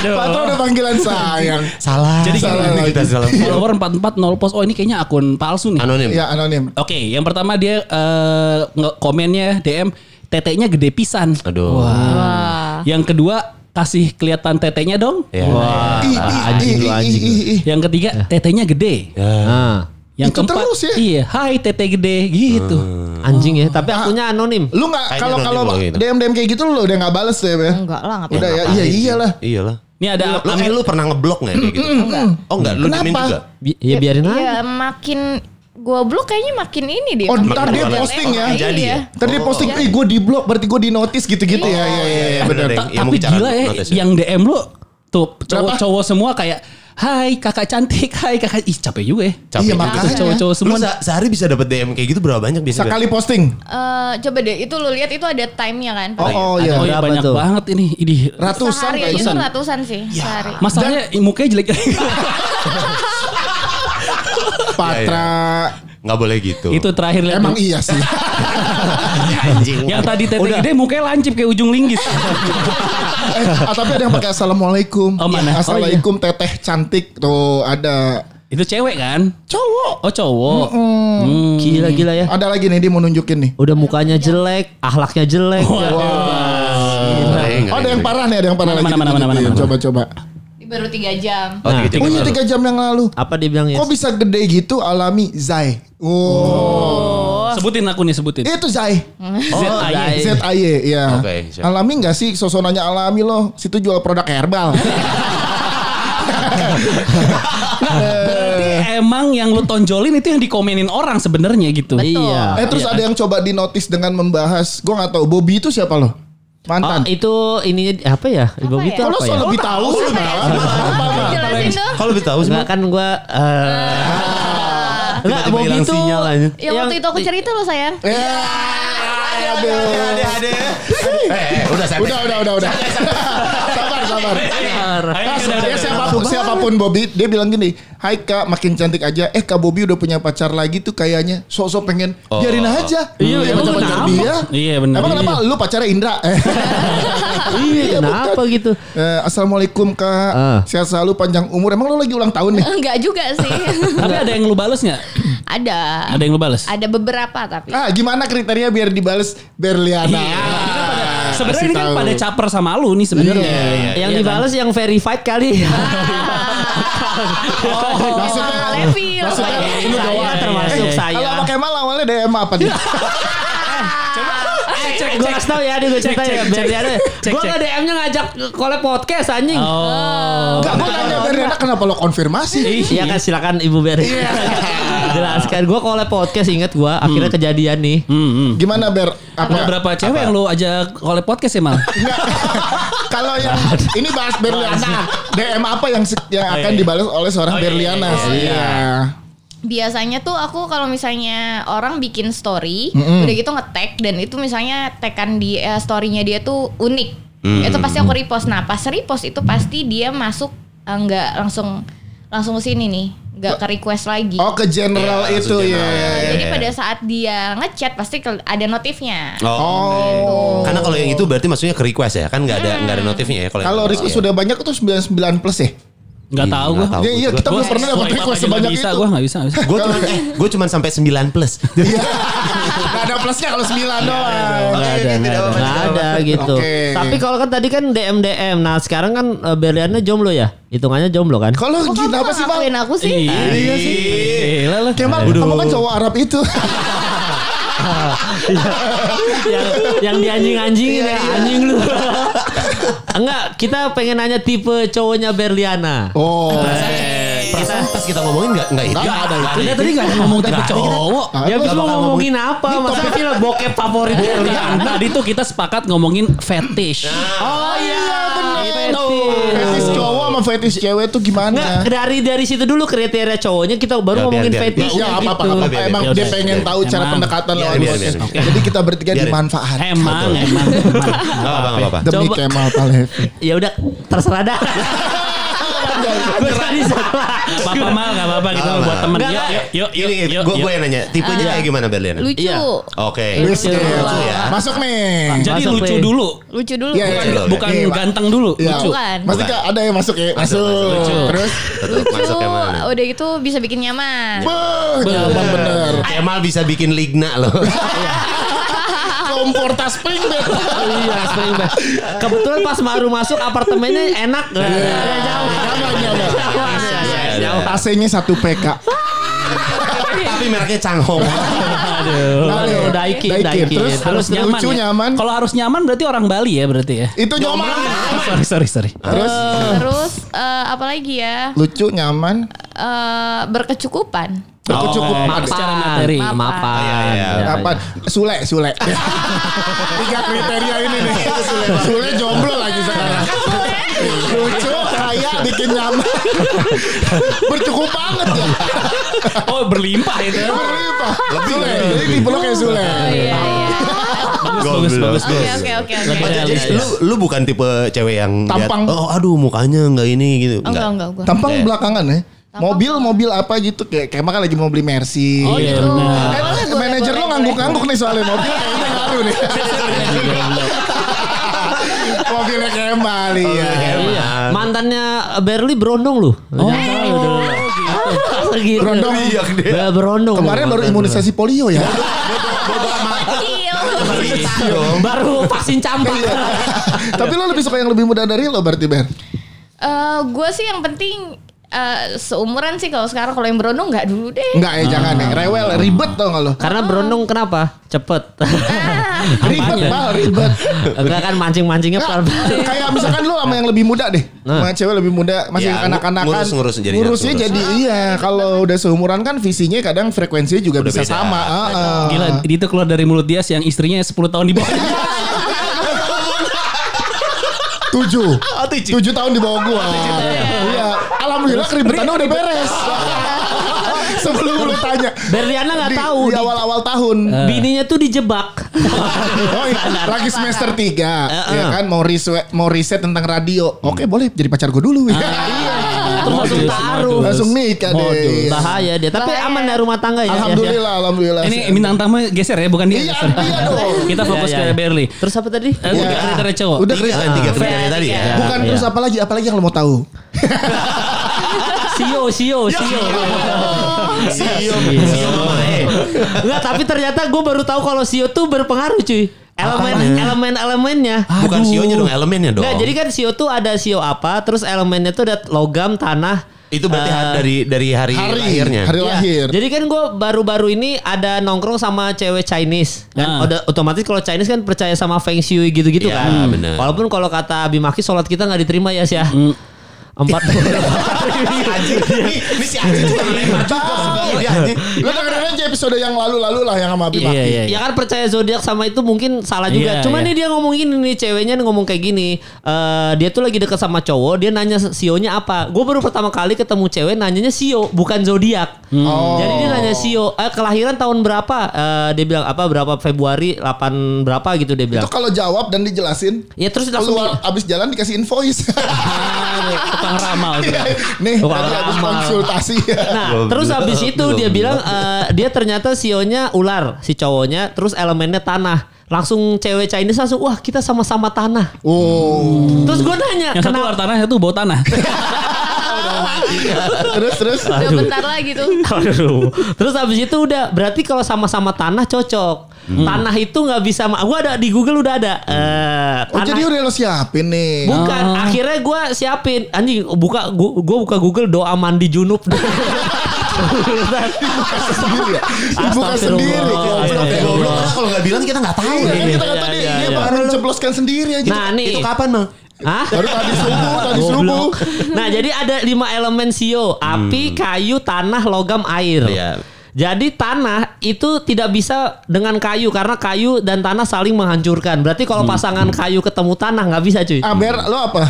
E: Aduh.
D: Patra udah panggilan sayang.
C: Salah.
E: Jadi
C: salah
D: gimana?
C: ini kita salah.
E: follower 44 nol post. Oh ini kayaknya akun palsu
B: Anu.
E: nih. Oke,
C: Anonim.
D: Iya anonim.
E: yang pertama dia eh, nge- komennya DM tetenya gede pisan.
C: Aduh.
A: Wah.
E: Yang kedua kasih kelihatan tetenya dong.
B: Eh.
C: Ya.
B: Wah,
D: Ih,
B: anjing lu anjing. lu.
E: Yang
B: Eh.
E: ketiga tetenya gede.
B: Ah.
E: Yang
D: Itu terus ya?
E: Iya, hai tete gede gitu.
B: Anjing ya, tapi
E: Ah.
B: akunya anonim.
D: Lu
C: Kayaknya
D: nggak kalau
C: anonim
D: kalau
C: kalau gitu.
D: DM DM kayak gitu lu udah nggak bales tuh ya, Ber?
A: Enggak lah, ngapain.
D: Udah ya, iya iyalah.
C: Iyalah.
E: Ini ada
D: Iya,
C: Lu eh, lu pernah ngeblok enggak kayak gitu? Oh enggak, lu
D: Kenapa?
C: dimin juga.
B: Bi- ya biarin aja.
A: Iya, makin gue blok kayaknya makin ini dia.
D: Oh,
A: makin
D: ntar dia
A: keluar.
D: posting ya?
A: Iya.
C: Jadi ya?
D: Tadi dia posting, "Ih, gue di blok, berarti gue di notice gitu-gitu ya." Iya iya iya.
C: Bener
E: Ta-
C: deh. Yang mau
E: tapi
C: bicara
E: gila ya,
C: notice
E: yang DM lu tuh
D: Berapa?
E: cowok-cowok semua kayak Hai kakak cantik, hai kakak Ih capek juga ya
C: Capek
D: Iya,
C: juga.
D: makanya.
E: Terus cowok-cowok
C: Lu
E: semua
C: se- sehari bisa dapat DM kayak gitu berapa banyak biasanya?
D: Sekali posting.
A: Eh, coba deh, itu lu lihat itu ada time-nya kan?
D: Oh, oh iya.
E: Oh iya
B: Berapa
E: banyak
B: tuh?
E: banget ini ini
D: Ratusan
A: sehari
D: kayak
A: aja
D: gitu.
A: tuh ratusan sih sehari.
E: Masalahnya mukanya jelek
D: Patra.
C: Nggak boleh gitu.
E: Itu terakhir lihat
D: Emang
E: tuh.
D: iya sih.
C: anjing.
E: Yang tadi tete gede mukanya lancip kayak ujung linggis
D: eh, ah, tapi ada yang pakai assalamualaikum. Iya,
E: Oh, mana?
D: Assalamualaikum teteh cantik tuh ada.
E: Itu cewek kan?
D: Cowok.
E: Oh cowok
B: Gila-gila ya.
D: Ada lagi nih dia mau nunjukin nih.
B: Udah mukanya jelek, akhlaknya jelek. ya.
D: Wah.
C: Ngeri, ngeri,
D: Oh, ada yang
C: ngeri.
D: parah nih, ada yang parah
E: Mana,
D: lagi.
E: mana, mana, mana,
D: ditunjukin.
E: mana, mana.
D: Coba coba.
A: baru tiga jam.
C: Oh, tiga jam
D: Oh
C: yang
D: iya
C: lalu.
D: tiga jam yang lalu.
B: Apa dia bilang ya?
D: Kok bisa gede gitu alami Zai? Oh.
E: Sebutin aku nih sebutin.
D: Itu Zai.
C: Oh,
B: iya.
E: ZAY.
C: Zai.
D: ZAY ya.
C: Oke, siap.
D: Alami nggak sih sosonanya alami loh. Situ jual produk herbal.
E: Berarti emang yang lu tonjolin itu yang dikomenin orang sebenarnya gitu.
B: Iya.
D: eh terus ada yang coba di notice dengan membahas. Gue nggak tahu Bobby itu siapa loh?
B: Oh,
D: Mantan.
B: itu ininya apa ya? Ibu
A: ya?
B: itu
D: Kalau
B: apa ya?
D: soal lebih tahu lu
A: Apa ya?
D: Bang.
A: Apa
D: Apa,
A: ya?
D: Bang?
A: Jelasin dong.
C: Kalau lebih tahu sih.
B: Enggak kan gua eh
D: Ah.
B: enggak
C: Tiba-tiba
B: Bobby
C: hilang
B: itu
C: sinyal aja.
A: Ya waktu itu aku cerita loh sayang.
D: Ya.
C: Iya,
D: Aduh.
C: Ada ada. Eh, eh, udah santai.
D: Udah, udah, udah, udah. sabar, sabar.
E: Ayo,
D: Nah,
E: udah,
D: dia
E: udah,
D: siapapun, siapapun Bobby, dia bilang gini, Hai kak, makin cantik aja. Eh kak Bobby udah punya pacar lagi tuh kayaknya. Sok-sok pengen, biarin aja.
E: Iya,
D: Dia
E: emang
D: pacar-pacar
E: kenapa?
D: dia.
E: Iya, benar.
D: Emang kenapa? Lu pacarnya Indra.
B: Iya, kenapa gitu?
D: Eh, Assalamualaikum kak,
B: Ah.
D: sehat selalu panjang umur. Emang lu lagi ulang tahun nih?
E: Iya.
A: Enggak juga sih.
E: Tapi ada yang lu bales nggak?
A: ada.
E: Ada yang lu bales?
A: Ada beberapa tapi.
D: Ah, gimana kriteria biar dibales Berliana?
E: Nah, Iya. Sebenarnya
D: Iya. Kasih
E: ini kan
D: tahu.
E: pada caper sama lu nih sebenarnya.
D: Iya,
C: iya,
B: yang
E: kan.
B: dibales yang verified kali.
A: Nah, Oh,
D: maksudnya-
A: Levi,
D: maksudnya
A: rupanya.
D: lu doang. Eh,
B: saya termasuk
E: iya, iya.
B: saya.
D: Kalau pakai mal awalnya DM apa nih?
E: Oh, Eh, cek,
B: Gue kasih tau ya, dia gue
E: Cek,
B: cerita
E: cek,
B: ya.
E: cek.
B: Berliana.
E: Cek,
B: Gue
E: cek.
B: nggak DM-nya ngajak collab podcast anjing.
E: Oh.
D: Enggak, gue tanya Berliana kenapa lo konfirmasi?
B: Iya kan silakan Ibu Beri. Jelaskan. Gue collab podcast inget gue. Akhirnya kejadian nih.
E: Hmm, hmm.
D: Gimana Ber?
E: Ada
D: Apa?
E: berapa cewek yang lu ajak oleh podcast ya, Mal?
D: Enggak. Kalau yang ini bahas Berliana, DM apa yang se- yang akan dibalas oleh seorang Berliana? Iya.
A: Biasanya tuh aku kalau misalnya orang bikin story, udah gitu nge-tag dan itu misalnya tekan di eh, story-nya dia tuh unik. Itu pasti aku repost. Nah, pas repost itu pasti dia masuk eh, nggak langsung langsung ke sini nih, nggak ke request lagi.
D: Oh ke general
C: Iya,
D: itu
C: langsung
D: ya.
C: general.
A: Nah,
C: iya,
A: jadi
C: iya.
A: pada saat dia ngechat pasti ke- ada notifnya.
D: Oh.
C: Karena kalau yang itu berarti maksudnya ke request ya, kan nggak ada nggak ada notifnya ya kalau. yang-
D: Kalau request sudah banyak tuh 99 plus ya.
E: Enggak
C: Iya,
E: tahu
C: nggak
E: gua.
C: tahu.
D: Iya, iya
C: gua
D: kita
E: Gua
D: belum pernah dapat
E: swipe
D: request
E: aja nggak
D: sebanyak
E: bisa,
D: itu.
E: Gua nggak bisa, nggak bisa.
C: Gue cuma gue cuma sampai 9 plus.
D: Iya. Gak ada plusnya kalau 9
C: iya,
D: doang.
B: Nggak ada,
D: iya,
B: nggak ada, nggak ada gitu.
D: Oke.
B: Tapi kalau kan tadi kan DM DM. Nah sekarang kan eh, Berliana jomblo ya. Hitungannya jomblo kan.
D: Kalau
A: Kok kamu
D: gini apa sih bang?
A: ngakuin aku sih?
E: Iya sih. Gila lu.
D: Kemal, kamu kan cowok Arab itu.
B: yang yang dianjing-anjingin ya anjing lu. Enggak, kita pengen nanya tipe cowoknya Berliana.
D: Oh.
C: Perasaan pas kita ngomongin nggak nggak itu.
D: Nggak ada itu.
E: Kita tadi nggak ngomong Nah, tapi cowok.
B: Ya
D: Apa?
B: abis mau ngomongin apa? Masa film bokep favorit
E: Bukan,
B: Berliana.
E: tadi tuh Nah, kita sepakat ngomongin fetish.
B: Oh iya benar.
D: Fetish cowok sama fetish cewek tuh
B: Nggak,
D: gimana?
B: dari dari situ dulu kriteria cowoknya kita baru
C: Ya, biar-
B: ngomongin
C: biar-
B: fetish
D: Ya
B: gitu.
D: apa-apa. nggak apa-apa.
C: Biar-
D: Emang
E: biar-
D: dia
E: biar-
D: pengen
E: biar-
D: tahu cara
E: Emang.
D: pendekatan
C: Biar-
D: lawan
C: biar-
D: bosnya.
C: biar- biar.
D: Jadi kita bertiga
C: Biarin.
D: dimanfaatkan.
E: Emang, emang, emang.
C: Nggak apa nggak apa.
D: Demi
B: Coba.
D: Kemal Palevi.
B: Ya udah terserah dah.
D: iya,
B: Gue tadi salah.
E: Bapak mal nggak apa-apa
C: Nggak
E: kita buat
C: apa-apa.
E: temen.
B: Nggak,
E: Yuk,
B: nggak.
E: yuk, yuk,
C: Eh, Ini
E: yuk.
C: gue
E: yuk.
C: gue yang nanya tipenya kayak gimana Berliana?
A: Lucu.
B: Iya.
C: Oke.
D: Wis,
B: Lucu.
D: Kemal.
C: ya.
D: Masuk nih.
E: Jadi
B: Masuk,
E: lucu
B: Play.
E: dulu.
A: Lucu dulu.
B: Ya,
D: Iya, iya, iya.
E: Bukan
D: Iya, Pak.
E: ganteng dulu.
D: Iya.
E: Lucu.
A: Bukan.
D: Masih
C: Bukan.
D: Kak, ada yang masuk ya?
C: Masuk,
D: Masuk.
C: masuk.
D: Terus?
C: Tetep masuk yang mana?
A: Lucu. Udah gitu bisa bikin nyaman.
D: Beuh, nyaman bener.
C: Kemal bisa bikin ligna loh.
D: Kompor tas pink bed.
B: Iya, spring bed. Kebetulan pas baru masuk apartemennya enak. Iya, jauh.
D: Nyaman, nyaman.
B: Iya,
C: Iya,
B: jauh.
C: iya.
D: AC-nya 1 PK.
C: Tapi mereknya Changhong.
B: Aduh,
D: Aduh,
B: Daikin,
D: Daikin.
B: Daikin.
D: Terus?
E: Harus
D: Lucu,
E: nyaman. ya.
D: nyaman.
E: Kalau harus nyaman berarti orang Bali ya berarti ya.
D: Itu nyaman.
E: Sorry, sorry, sorry.
D: Terus?
A: Terus eh, apa lagi ya?
D: Lucu, nyaman.
A: Eh, berkecukupan.
D: Berkecukupan.
E: Mapan. Secara materi.
B: Mapan.
A: Mapan.
C: Iya, iya.
B: Iya, iya.
D: Apa? Sule, Sule. Tiga kriteria ini nih. Sule jomblo
A: Ah,
D: lagi sekarang. Lucu, kaya, bikin nyaman. Bercukup banget ya.
E: Oh, berlimpah itu.
D: Berlimpah. Sule, jadi tipe lo kayak Sule.
A: Oh iya iya.
E: Bagus, bagus,
A: Oke oke oke Oh,
E: Lebih
A: oke.
E: real.
C: Jadi
E: Iya.
C: lu lu bukan tipe cewek yang lihat,
D: Tampang.
C: oh aduh mukanya nggak ini gitu.
A: Enggak enggak gua.
D: Tampang
C: Iya.
D: belakangan ya. Mobil, mobil apa gitu. Kayak kayak kan lagi mau beli Mercy.
E: Oh,
A: Gitu.
E: iya, benar.
D: Eh, lo-
A: Boleh,
D: manajer lo
A: boleh,
D: ngangguk-ngangguk nih soalnya mobil kayaknya ngaruh nih. Mobilnya Kemal iya.
B: Iya. Mantannya Berli berondong lu. Oh, gitu.
D: Berondong.
C: Iya deh.
B: Ber- Berondong. Iya. lu,
D: Kemarin baru
B: mantan
D: imunisasi polio ya.
A: Kecil.
B: Iya. lu. Baru vaksin campak. Iya.
D: Tapi lo lebih suka yang lebih muda dari lo berarti
A: Eh,
D: Ber.
A: gue sih yang penting eh, seumuran sih kalau sekarang kalau yang Brono nggak dulu deh.
D: Enggak ya jangan ya. Rewel ribet tau nggak lo?
B: Karena berondong kenapa? Cepet.
A: Ah,
B: ya?
D: Ribet
E: Apanya?
D: mal ribet.
B: Enggak kan mancing-mancingnya
D: Nggak,
B: pelan-pelan.
D: kayak misalkan lu sama yang lebih muda deh.
B: Nah.
D: Sama cewek lebih muda masih
C: Ya, ngu-
D: anak-anakan.
C: ngurus-ngurus jadi
D: Ngurusnya
C: ngurus.
D: jadi iya kalau udah seumuran kan visinya kadang frekuensinya juga
C: Udah beda.
D: bisa sama. Heeh.
E: Gila, itu keluar dari mulut dia yang istrinya 10 tahun di bawah.
D: Tujuh.
C: Oh, tujuh.
D: Tujuh tahun di bawah gua.
C: ya?
D: Iya. Alhamdulillah keributannya udah beres. Sebelum lu tanya.
B: Berliana nggak
D: Di-
B: tahu.
D: Di
B: di-
D: awal-awal tahun.
B: Iya.
C: Eh.
B: Bininya tuh dijebak.
D: Oh, iya. lagi semester 3 ya kan mau riset mau riset tentang radio.
B: Hmm.
D: Oke, boleh jadi pacar gue
B: Ah.
D: dulu. Iya.
B: Terus langsung taruh.
D: Langsung nikah deh. Iya.
B: Bahaya dia. Tapi
A: Bahaya.
B: aman dari rumah tangga ya.
D: Alhamdulillah, alhamdulillah.
E: Ini bintang tamu geser ya, bukan dia.
D: Iya, iya dong.
E: Kita fokus
B: Iya, iya.
E: ke Berli.
B: Terus apa tadi?
E: Eh,
D: Iya.
E: Tiga kriteria cowok.
D: Udah
C: Tiga,
D: keren.
C: tiga kriteria tadi ya.
D: Bukan
B: Iya.
D: terus apalagi apalagi yang lo mau tahu?
B: Sio, Sio, Ya, Sio.
C: Sio,
B: Sio.
C: eh.
B: Enggak, tapi ternyata gue baru tahu kalau Sio tuh berpengaruh cuy. Elemen, elemen, elemennya.
C: Bukan sionya dong, elemennya dong.
B: Enggak, jadi kan Sio tuh ada Sio apa, terus elemennya tuh ada logam, tanah.
C: itu berarti
B: eh,
C: ha- dari dari hari,
D: Hari
C: lahirnya.
D: Hari
B: Iya.
D: lahir.
B: Jadi kan gue baru-baru ini ada nongkrong sama cewek Chinese.
E: Ah.
B: Kan udah otomatis kalau Chinese kan percaya sama Feng Shui gitu-gitu
C: Iya,
B: kan.
C: bener.
B: Walaupun kalau kata Bimaki sholat kita nggak diterima ya sih ya. Empat.
C: ini, ini si Aji tuh yang
D: Nah,
C: lima juga
B: Iya,
C: Iya, sebenarnya, Aji.
D: Lo dengerin aja episode yang lalu-lalu lah yang sama Abi
E: Iya,
D: Maki.
E: iya,
B: ya kan percaya zodiak sama itu mungkin salah juga.
E: Iya,
B: Cuman
E: iya.
B: nih dia ngomong gini nih ceweknya ngomong kayak gini. Eh dia tuh lagi deket sama cowok, dia nanya sionya apa. Gue baru pertama kali ketemu cewek nanyanya sio bukan zodiak.
E: Hmm.
D: Oh.
B: Hmm, Jadi dia nanya sio, eh, kelahiran tahun berapa? Eh dia bilang apa berapa Februari 8 berapa gitu dia bilang.
D: Itu kalau jawab dan dijelasin,
B: Ya terus langsung
D: keluar abis jalan dikasih invoice.
E: Ah, Tukang ramal. tuh.
D: Nih,
B: Wah,
D: tadi abis
B: lama.
D: konsultasi.
B: Nah,
C: Goblok.
B: terus habis itu dia
C: Goblok.
B: bilang eh, dia ternyata sionya ular si cowoknya, terus elemennya tanah. Langsung cewek Chinese langsung wah kita sama-sama tanah.
D: Oh.
B: Terus gue nanya,
E: Hmm. Yang satu
B: kenapa
E: luar tanah, yang satu bau tanah.
D: terus terus.
A: Udah bentar lagi tuh.
B: Aduh. Terus habis itu udah berarti kalau sama-sama tanah cocok.
E: Hmm.
B: Tanah itu nggak bisa ma- gua ada di Google udah ada. Eh,
D: Oh
B: tanah-
D: jadi udah lo siapin nih.
B: bukan
E: Oh.
B: akhirnya gua siapin anjing buka gua, gua buka Google doa mandi junub.
D: Bukan sendiri ya. Bukan
B: Astagfirullah.
D: sendiri.
E: Oh, iya,
C: Tapi
B: Astagfirullah.
C: goblok karena kalau nggak bilang kita nggak tahu.
D: Iya,
C: Aji.
D: kita kata dia, dia bahkan menceploskan sendiri aja.
B: nah, nih.
C: Itu kapan mah?
B: Hah?
D: Baru tadi subuh, tadi subuh.
B: Goblok. Nah, jadi ada lima elemen sio, api, kayu, tanah, logam, air.
C: Iya.
B: Jadi tanah itu tidak bisa dengan kayu karena kayu dan tanah saling menghancurkan. Berarti kalau pasangan kayu ketemu tanah nggak bisa cuy.
D: Aber, lo apa?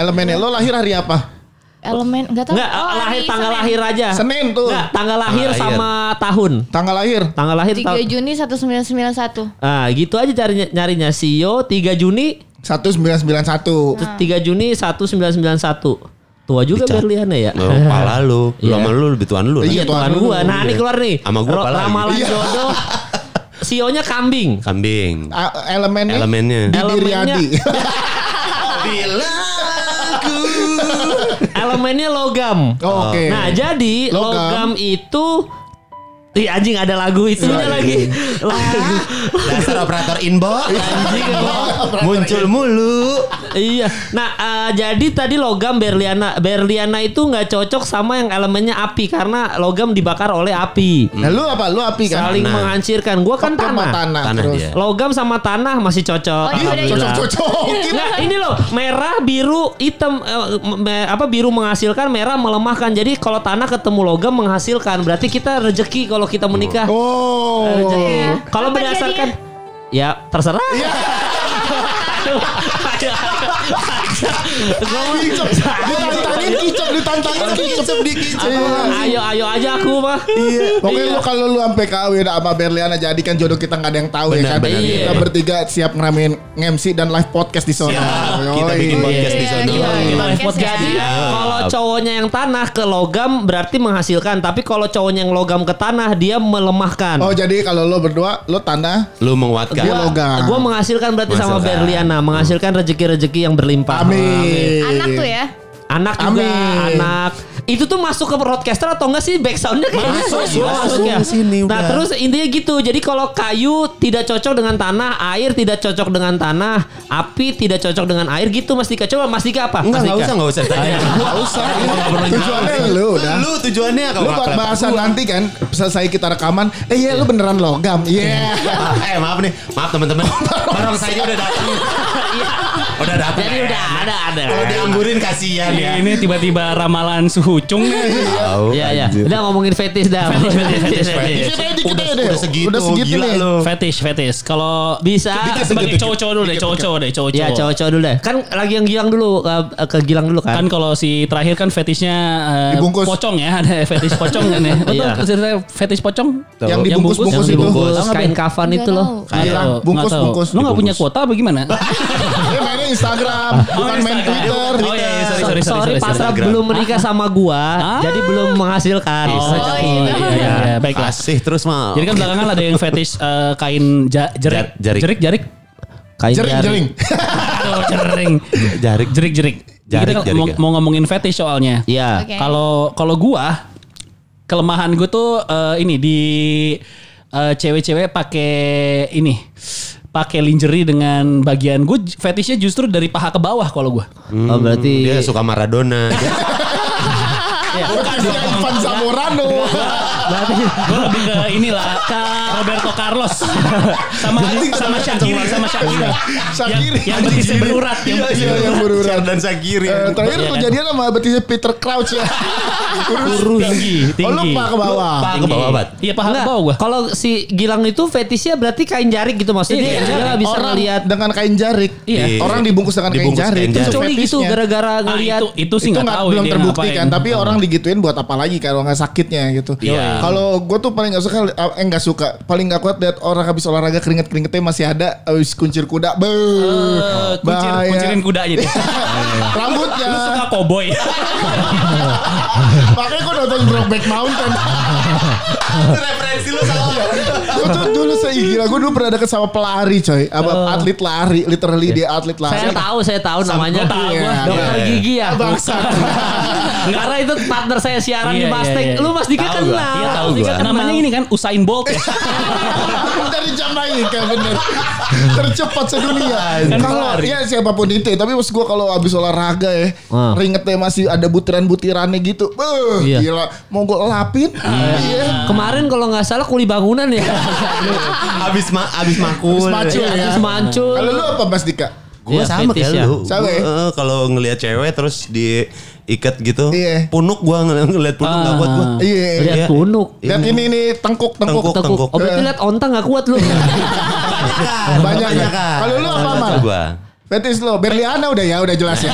D: Elemennya lo lahir hari apa?
A: Elemen nggak tahu.
B: Nggak
A: Oh, hari
B: lahir tanggal
A: Senin.
B: lahir aja.
D: Senin tuh.
B: Nggak tanggal lahir
C: lahir.
B: sama tahun.
D: Tanggal lahir.
B: Tanggal lahir
A: 3
B: tahun.
A: Juni 1991.
B: Ah, gitu aja carinya nyarinya Sio 3 Juni
D: 1991.
A: Ah.
B: 3 Juni 1991. Tua juga
C: Dicat.
B: Berliana ya.
C: Lo Pala lu, lu
B: Iya.
C: sama lu lebih tuan lu.
D: Iya,
B: Iya
D: tuan
B: tuan
D: lu.
B: gua. Nah, ini
D: Iya.
B: keluar nih.
C: Sama gua
B: Ro-
C: pala lagi.
B: Ramalan
D: Iya.
B: jodoh. Sionya kambing.
C: Kambing.
D: A- Elemennya.
C: Elemennya.
D: Didi
B: Elemennya.
D: Riyadi.
C: Bila aku.
B: Elemennya logam.
D: Oh, Oke.
B: Nah, jadi
D: Logam.
B: logam, itu Ih anjing ada lagu
C: Iya,
B: itunya lagi. Lagu.
C: Dasar operator inbox. Anjing lo. Muncul mulu.
B: iya. Nah, eh, jadi tadi logam Berliana Berliana itu nggak cocok sama yang elemennya api karena logam dibakar oleh api.
D: Nah, lu apa? Lu api kan?
B: Saling
C: Tanah.
B: menghancurkan. Gua kan
D: Pakai sama
B: tanah.
D: tanah.
C: Tanah
D: terus.
C: dia.
B: Logam sama tanah masih cocok. Nah,
A: Oh, iya, udah
B: Alhamdulillah.
D: Cocok-cocokin.
B: Enggak, Nah, ini loh merah, biru, hitam eh, me- apa biru menghasilkan, merah melemahkan. Jadi kalau tanah ketemu logam menghasilkan, berarti kita rezeki kalau kita menikah.
D: Oh. Iya.
B: Rezeki. Kalau
A: Apa
B: berdasarkan ya terserah.
D: Kicep. Ditantangin kicep, ditantangin kicep, dikicep. Iya.
B: ayo ayo aja aku mah.
A: Iya.
D: Pokoknya lu kalau lu sampai kawin sama Berliana jadi kan jodoh kita nggak ada yang tahu ya
C: Benar,
D: kan.
C: benar,
D: Kita
C: benar.
D: bertiga siap ngeramein MC dan live podcast di sana.
C: Siap. Kita
D: Yoi.
C: bikin podcast di
A: Iya,
C: sana.
A: iya,
E: Kita
A: iya.
E: live
A: Podcast ya.
E: podcast.
B: Jadi kalau cowoknya yang tanah ke logam berarti menghasilkan, tapi kalau cowoknya yang logam ke tanah dia melemahkan.
D: Oh jadi kalau lo berdua lo tanah
C: Lu menguatkan.
D: Gua- logam.
B: Gua menghasilkan berarti sama
C: Menghasilkan.
B: Berliana, menghasilkan rezeki-rezeki yang berlimpah.
D: Amin.
A: Anak tuh ya.
B: Anak juga,
D: Amin.
B: anak. Itu tuh masuk ke broadcaster atau enggak sih backsoundnya kayaknya
E: Masuk,
B: masuk,
E: masuk
B: ya.
F: ke sini
B: nah
F: udah.
B: terus intinya gitu. Jadi kalau kayu tidak cocok dengan tanah, air tidak cocok dengan tanah, api tidak cocok dengan air gitu Mas Dika. Coba Mas Dika apa?
C: Enggak,
B: Mas
C: enggak
B: Dika.
C: usah, enggak usah. Tanya.
D: Gak usah. ini Tujuannya lu udah.
C: Iya. Lu tujuannya kalau
D: Lu buat bahasan nanti kan selesai kita rekaman. Eh iya lu beneran logam. Iya.
C: eh maaf nih, maaf teman-teman. Barang saya udah datang. udah datang.
B: Iya. Jadi udah ada ada.
C: Kalau dianggurin kasihan ya.
E: Iya. Ini tiba-tiba ramalan suhu cung nih.
B: Iya iya. Udah ngomongin fetis dah.
E: fetis, fetis.
D: Dikit aja, dikit
C: Udah,
D: aja deh.
C: udah segitu,
D: Iya, Udah segitu
C: gila
D: nih.
C: lu.
E: Fetish, fetish. Kalau
B: Bisa.
E: kita sebagai cowok-cowok dulu deh, cowok-cowok deh, cowok-cowok.
B: Iya cowok-cowok dulu deh. Kan lagi yang Gilang dulu ke, ke Gilang dulu kan.
E: Kan kalau si terakhir kan fetishnya eh,
D: Dibungkus.
E: pocong ya, ada fetish pocong kan ya. Betul,
B: Iya.
E: ceritanya fetish pocong.
D: Yang dibungkus-bungkus
B: yang
D: itu.
B: dibungkus
E: Tahu nggak,
B: kain
E: Ben?
B: kafan
A: Nggak
B: itu loh.
A: tahu.
E: Nggak
D: Hilang,
E: tahu,
D: Iya, bungkus,
E: nggak tahu.
D: bungkus.
E: Lu nggak punya kuota apa gimana?
D: Dia mainnya Instagram, bukan main
E: Instagram.
D: Twitter.
E: Oh iya, iya, sorry,
B: Sorry,
E: sorry, sorry,
B: Pak Sra
E: sorry.
B: belum menikah sama gua,
E: Ah.
B: jadi belum menghasilkan.
E: Oh,
A: gitu.
E: iya, iya, iya, baiklah.
C: Kasih terus mau.
E: Jadi kan belakangan ada yang fetish eh, kain ja- jerik.
C: Ja- jarik.
E: Jerik, jarik.
B: Kain
D: Jering-jering.
E: Aduh, jering.
C: jarik.
E: Jerik, jerik.
C: Jarik,
E: Kita kan
C: jarik
E: mau,
C: ya.
E: mau ngomongin fetish soalnya.
B: Iya.
A: Oke.
E: Kalau kalau gua kelemahan gua tuh eh, ini di eh, cewek-cewek pakai ini pakai lingerie dengan bagian gua j- fetishnya justru dari paha ke bawah kalau gua.
B: Oh berarti
C: Dia suka Maradona.
D: Iya, Bukan dia Ivan Zamorano.
B: berarti
E: Gua lebih ke inilah ke Roberto Carlos sama sama Shakira Iya. sama Shakira.
D: Shakiri.
E: Yang betisnya berurat, yang
D: Yang betisnya
E: betisnya
D: iya, yang berurat.
C: dan Sakiri.
D: Eh, terakhir
E: Iya, kan?
D: kejadian sama betisnya Peter Crouch ya. Kurus.
E: Tinggi,
D: Oh lu
E: tinggi.
D: pak ke bawah.
C: Pak ke bawah bat.
E: Iya paha ke
B: Enggak,
E: bawah gua.
B: Kalau si Gilang itu fetishnya berarti kain jarik gitu maksudnya.
E: Iya,
B: Dia,
E: iya.
B: nggak bisa
E: Orang-
B: ngelihat
D: Dengan kain jarik.
E: Iya.
D: Orang dibungkus dengan kain
C: Dibungkus
D: jarik.
C: kain
D: Itu
C: jarik.
B: coli gitu
D: fetishnya.
B: gara-gara
E: Nah,
B: ngelihat
E: itu itu sih
D: itu
E: nggak
D: nggak
E: tahu ya
D: belum
E: dia
D: terbukti
E: ngapain. Hmm.
D: kan tapi orang digituin buat apa lagi kalau nggak sakitnya gitu
C: Iya.
D: kalau gue tuh paling nggak suka eh nggak suka paling nggak kuat lihat orang habis olahraga keringet keringetnya masih ada habis kuncir kuda be
E: Eh, kuncir, kuncirin kudanya dia.
D: rambutnya
E: Lu suka cowboy.
D: makanya gue nonton Brokeback Mountain
C: Referensi lu salah.
D: gue tuh dulu saya gila gue dulu pernah deket sama pelari coy apa atlet lari literally dia atlet lari
B: saya tahu, saya tahu namanya.
E: Gua tahu gua.
D: Iya.
B: Dokter
C: Iya.
B: gigi ya.
D: bangsa
B: Karena itu partner saya siaran di
E: Iya, iya,
B: Bastek.
E: iya.
B: Lu Mas Dika
C: Tahu gua.
B: kenal.
E: Iya tahu
B: Mas Dika
E: gua.
B: kenal.
E: Namanya ini kan Usain Bolt ya.
D: dari Jamaika bener tercepat sedunia
E: Kan
D: kalau
E: lari.
D: ya siapapun itu ya, tapi maksud gua kalau abis olahraga ya
B: Hmm.
D: ringetnya masih ada butiran-butirannya gitu Beuh,
B: Iya.
D: gila mau gue lapin iya
B: Kemarin kalau nggak salah kuli bangunan ya.
C: Abis ma abis makul.
D: Abis macul ya
B: Terus mancul.
D: kalau lu apa Mas Dika
C: Gue
B: Iya,
C: sama
B: fetish ya.
C: kayak lu.
D: Sama
C: Gua,
D: ya?
C: eh, Kalau ngelihat cewek terus diikat gitu.
D: Iya.
C: Punuk gue ngelihat punuk
B: Ah.
C: nggak kuat gue.
D: iya
B: Lihat
C: Iya.
B: punuk.
D: lihat ini nih tengkuk tengkuk
C: Tengkuk.
B: Tekuk. Oh
D: Eh.
B: berarti lihat onta nggak kuat lu.
D: Banyak
C: kan?
D: ya? Kalau lu apa, Mal?
C: Gue.
D: Betis lo Berliana udah ya udah jelas ya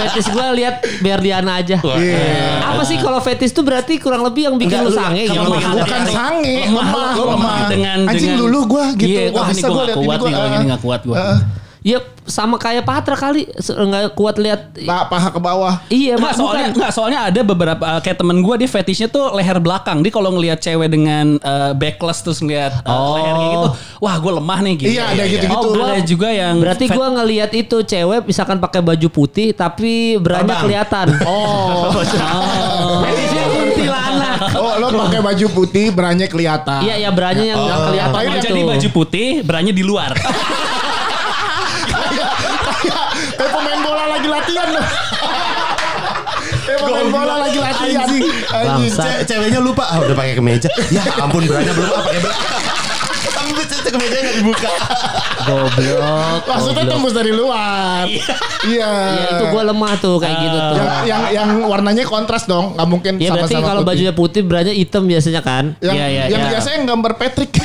B: fetis gua lihat biar Diana aja.
D: Iya.
B: Apa sih kalau fetis tuh berarti kurang lebih yang bikin
C: Enggak,
B: lu
C: lu
B: sange
C: yang
B: gitu.
C: kelemahan.
D: bukan
E: Lemah.
D: sange
E: Lemah,
D: lemah
E: lu lemah.
D: lemah
E: Dengan-
D: anjing
E: dengan-
D: lulu gue
E: Iya,
D: gitu
E: wah,
D: Gak
E: ini
D: bisa
E: gua
D: gue
E: nggak
D: lihat ini
E: kuat
D: gue
E: nih, kalau ini nggak kuat gua.
B: Iya sama kayak Patra kali se- nggak kuat lihat.
D: paha ke bawah
B: Iya
E: Enggak,
B: mas
E: soalnya
B: bukan.
E: enggak, soalnya ada beberapa eh, kayak temen gue dia fetishnya tuh leher belakang. Dia kalau ngelihat cewek dengan eh, backless terus ngelihat eh,
B: Oh.
E: leher kayak gitu, wah gue lemah nih gitu.
D: Iya, ada gitu-gitu.
E: Oh, gua- ada juga yang
B: Berarti
E: fet-
B: gua ngelihat itu cewek misalkan pakai baju putih tapi berannya
C: Terbang.
B: kelihatan.
D: oh
E: Oh.
B: Fetisnya kuntilanak.
D: Oh, lo
E: Iya.
D: pakai baju putih, beranya kelihatan.
B: Iya ya berannya yang nggak kelihatan
D: Ngapain
B: gitu.
E: Oh. jadi baju putih, beranya di luar.
D: Kayak Eh, pemain bola lagi latihan lo. Kayak pemain bola lagi latihan. Anjing.
B: Bangsa.
C: Ce- ceweknya lupa ah, udah pakai kemeja. Ya ampun berani belum apa pakai belakang. Sampai ce- kemeja nggak dibuka.
B: Goblok.
D: Maksudnya
B: goblok.
D: tembus dari luar. Iya.
B: Iya itu gua lemah tuh kayak gitu
E: Ah.
B: tuh.
D: yang, yang yang warnanya kontras dong, nggak mungkin
B: Ya berarti
D: sama-sama
B: kalau
D: putih.
B: bajunya putih berarti hitam biasanya kan.
D: yang,
E: Iya, iya,
D: yang
E: iya.
D: biasanya yang gambar Patrick.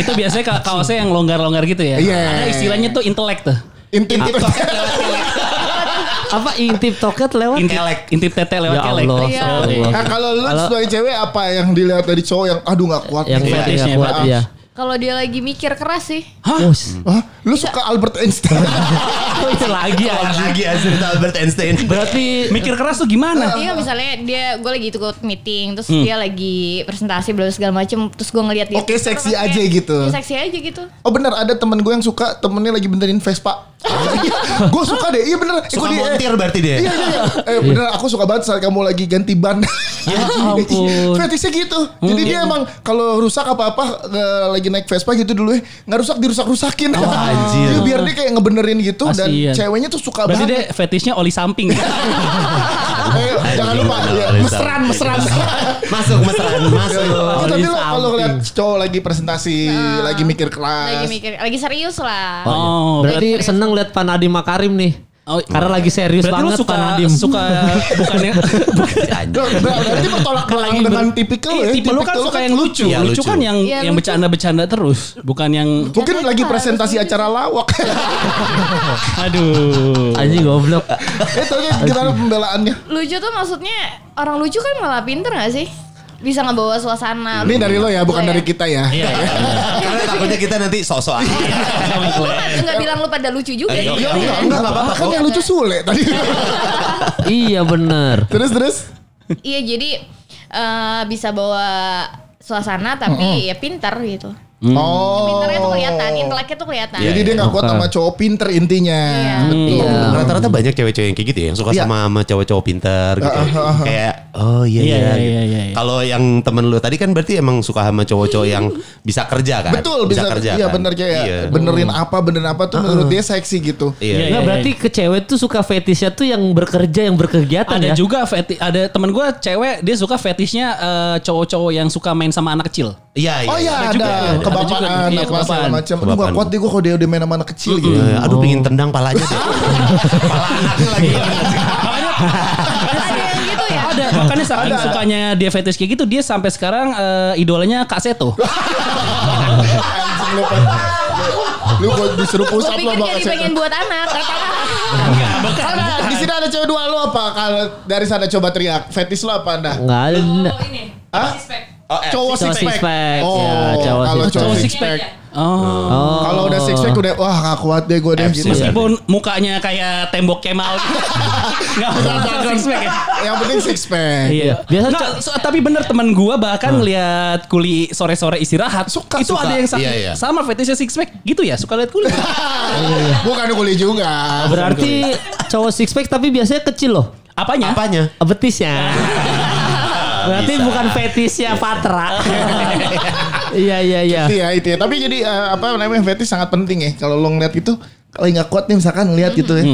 E: Itu biasanya ka- kaosnya yang longgar-longgar gitu ya.
D: Iya.
E: Ada istilahnya tuh intelek tuh.
D: Intim
B: Apa intip toket lewat?
E: Intip, intip tete lewat
B: Oh, Ya
E: kelek.
B: Allah,
A: Iya.
B: ya Allah.
D: Nah, kalau lu
B: Kalau-
D: sebagai cewek apa yang dilihat dari cowok yang aduh nggak kuat
B: Yang
D: nih.
B: fetishnya
E: fetishnya,
B: kuat
E: fetish.
B: ya.
A: Kalau dia lagi mikir keras sih.
B: Us.
D: Hah? Lu suka Albert Einstein?
B: Oh, itu lagi
C: Keluar
B: anjing.
C: lagi hasil Albert Einstein.
B: Berarti
E: Mikir keras
D: Oh.
E: tuh gimana?
A: Iya misalnya dia gue lagi ikut meeting terus
C: Hmm.
A: dia lagi presentasi belum segala macem terus gue ngeliat dia.
D: Oke, seksi
A: Kayak,
D: aja gitu.
A: "Ya, Seksi aja gitu.
D: Oh benar ada temen gue yang suka temennya lagi benerin Vespa. gue suka deh iya bener Eh,
C: Suka
D: gua di- eh,
C: montir berarti dia.
D: Iya, iya, iya. Eh bener aku suka banget saat kamu lagi ganti ban.
E: Ya ampun.
D: Fetishnya gitu. Jadi dia emang kalau rusak apa-apa eh, lagi naik Vespa gitu dulu eh nggak rusak dirusak-rusakin.
C: anjir.
D: Iya, biar dia kayak ngebenerin gitu dan
E: Kasian.
D: ceweknya tuh suka
E: Berarti dia
D: banget.
E: fetishnya oli samping.
D: Eh, jangan lupa
C: Anjing,
D: ya,
C: anjing.
D: mesran mesran.
C: Masuk mesraan, masuk.
D: Oh, tapi lo kalau
B: samping.
D: ngeliat cowok lagi presentasi, lagi mikir kelas.
A: Nah, Iya, lagi mikir lagi serius lah
E: Oh, berarti,
B: Berarti seneng lihat Pak Nadiem Makarim nih.
E: Oh,
B: Karena lagi serius
E: berarti lu
B: banget
E: suka
B: Pak Nadiem.
E: suka bukannya
D: Loh, Berarti bertolak belakang dengan tipikal
E: Iya,
D: ya.
E: tipe lu kan
D: tipikal
E: suka yang lucu.
C: Iya,
E: lucu.
C: lucu.
E: kan yang
A: Iya,
E: yang
A: lucu.
E: bercanda-bercanda terus, bukan yang
D: Mungkin lagi presentasi acara lawak.
E: aduh.
B: Anjing goblok.
D: Itu aja Ya, gimana pembelaannya.
A: lucu tuh maksudnya orang lucu kan malah pinter gak sih bisa ngebawa suasana
C: Iya.
D: Ini dari lo ya, bukan
A: Lo
D: dari kita ya.
C: Karena takutnya kita nanti sosok
A: Lu kan nggak bilang lu pada lucu juga
C: Eh,
A: ya.
C: iya,
D: Enggak, enggak, enggak apa-apa. Kan yang lucu Sule tadi.
B: iya bener.
D: terus, terus.
A: iya jadi eh, bisa bawa suasana tapi ya pinter gitu
D: Oh.
A: pinternya tuh kelihatan inteleknya tuh kelihatan
C: Hmm. Iya,
D: Jadi dia gak kuat sama cowok pinter intinya.
A: Iya.
D: Betul.
B: Iya.
C: Rata-rata banyak cewek-cewek yang kayak gitu ya, yang suka
D: Iya.
C: sama sama cowok-cowok pinter gitu.
D: Ah, ah, ah, ah.
C: Kayak oh iya
E: Iya,
C: iya.
E: iya,
C: gitu.
E: iya, iya.
C: Kalau yang temen lu tadi kan berarti emang suka sama cowok-cowok yang bisa kerja kan?
D: Betul bisa,
C: kerja.
D: Iya
C: kan?
D: bener kayak
C: Iya. Ah.
D: benerin apa benerin apa tuh menurut dia seksi gitu.
C: Iya.
E: Iya,
B: Nah, berarti ke cewek tuh suka fetishnya tuh yang bekerja, yang berkegiatan ya.
E: Ada juga feti ada temen gue cewek dia suka fetishnya eh, cowok-cowok yang suka main sama anak kecil.
C: Iya.
D: Oh iya
E: juga.
D: ada
E: Ada juga.
D: kebapaan
E: Iya,
D: apa segala
E: kebapaan.
D: macam. Aduh gak
C: Kebapaan.
D: kuat deh gue kalau dia udah main sama anak kecil gitu.
C: Iya, aduh pingin tendang palanya deh. Pala anaknya lagi.
A: ada yang gitu ya
E: Ada makanya saking sukanya dia fetish kayak gitu dia sampai sekarang eh, idolanya Kak Seto.
D: Anjing lu Pan. Lu gue disuruh push
A: gue
D: up lo
A: pikir
D: bakal
A: jadi pengen buat anak
D: Ada di sini ada cewek dua lo apa? Kalau dari sana coba teriak. Fetish lo apa anda?
B: Nggak ada.
A: ini
D: Hah?
C: Oh, eh.
D: Cowok
B: Cowok
D: six pack.
B: six pack.
D: Oh,
B: Ya, cowok
D: kalau
B: six
D: cowok
B: pack.
D: six pack.
E: Oh.
B: Oh.
D: Kalau udah six pack udah wah gak kuat deh gue deh
C: FC.
D: gitu.
E: Meskipun mukanya kayak tembok Kemal. Enggak usah six pack ya.
D: Yang penting six pack.
E: Iya.
B: Biasa
E: Nggak,
B: cowok-
E: so- tapi bener teman gua bahkan ngeliat kuli sore-sore istirahat
D: Nah. Suka,
E: itu
D: suka.
E: ada yang sama,
C: Iya, iya.
E: sama fetishnya six pack gitu ya suka lihat kuli.
D: Bukan kuli
B: Oh,
D: juga.
B: Berarti cowok six pack tapi biasanya kecil loh.
E: Apanya?
C: Apanya?
B: Betisnya. Berarti
C: Bisa.
B: bukan fetishnya Patra. Iya iya iya.
D: Itu ya itu ya. Tapi jadi eh, apa namanya fetish sangat penting ya. Kalau lo ngeliat itu kalau nggak kuat nih misalkan ngeliat gitu ya.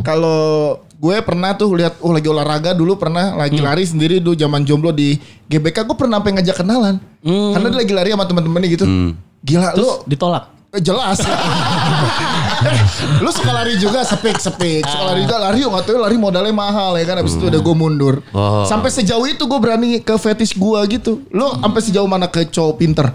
D: Kalau gue pernah tuh lihat oh lagi olahraga dulu pernah lagi lari sendiri dulu zaman jomblo di GBK gue pernah pengen ngajak kenalan. Karena dia lagi lari sama teman-temannya gitu. Gila lu
E: Ditolak.
D: Eh, jelas. Eh, lu suka lari juga sepik sepik suka lari juga lari nggak tahu lari modalnya mahal ya kan abis itu udah gue mundur
C: Oh.
D: sampai sejauh itu gue berani ke fetish gue gitu lu sampai sejauh mana ke cowok pinter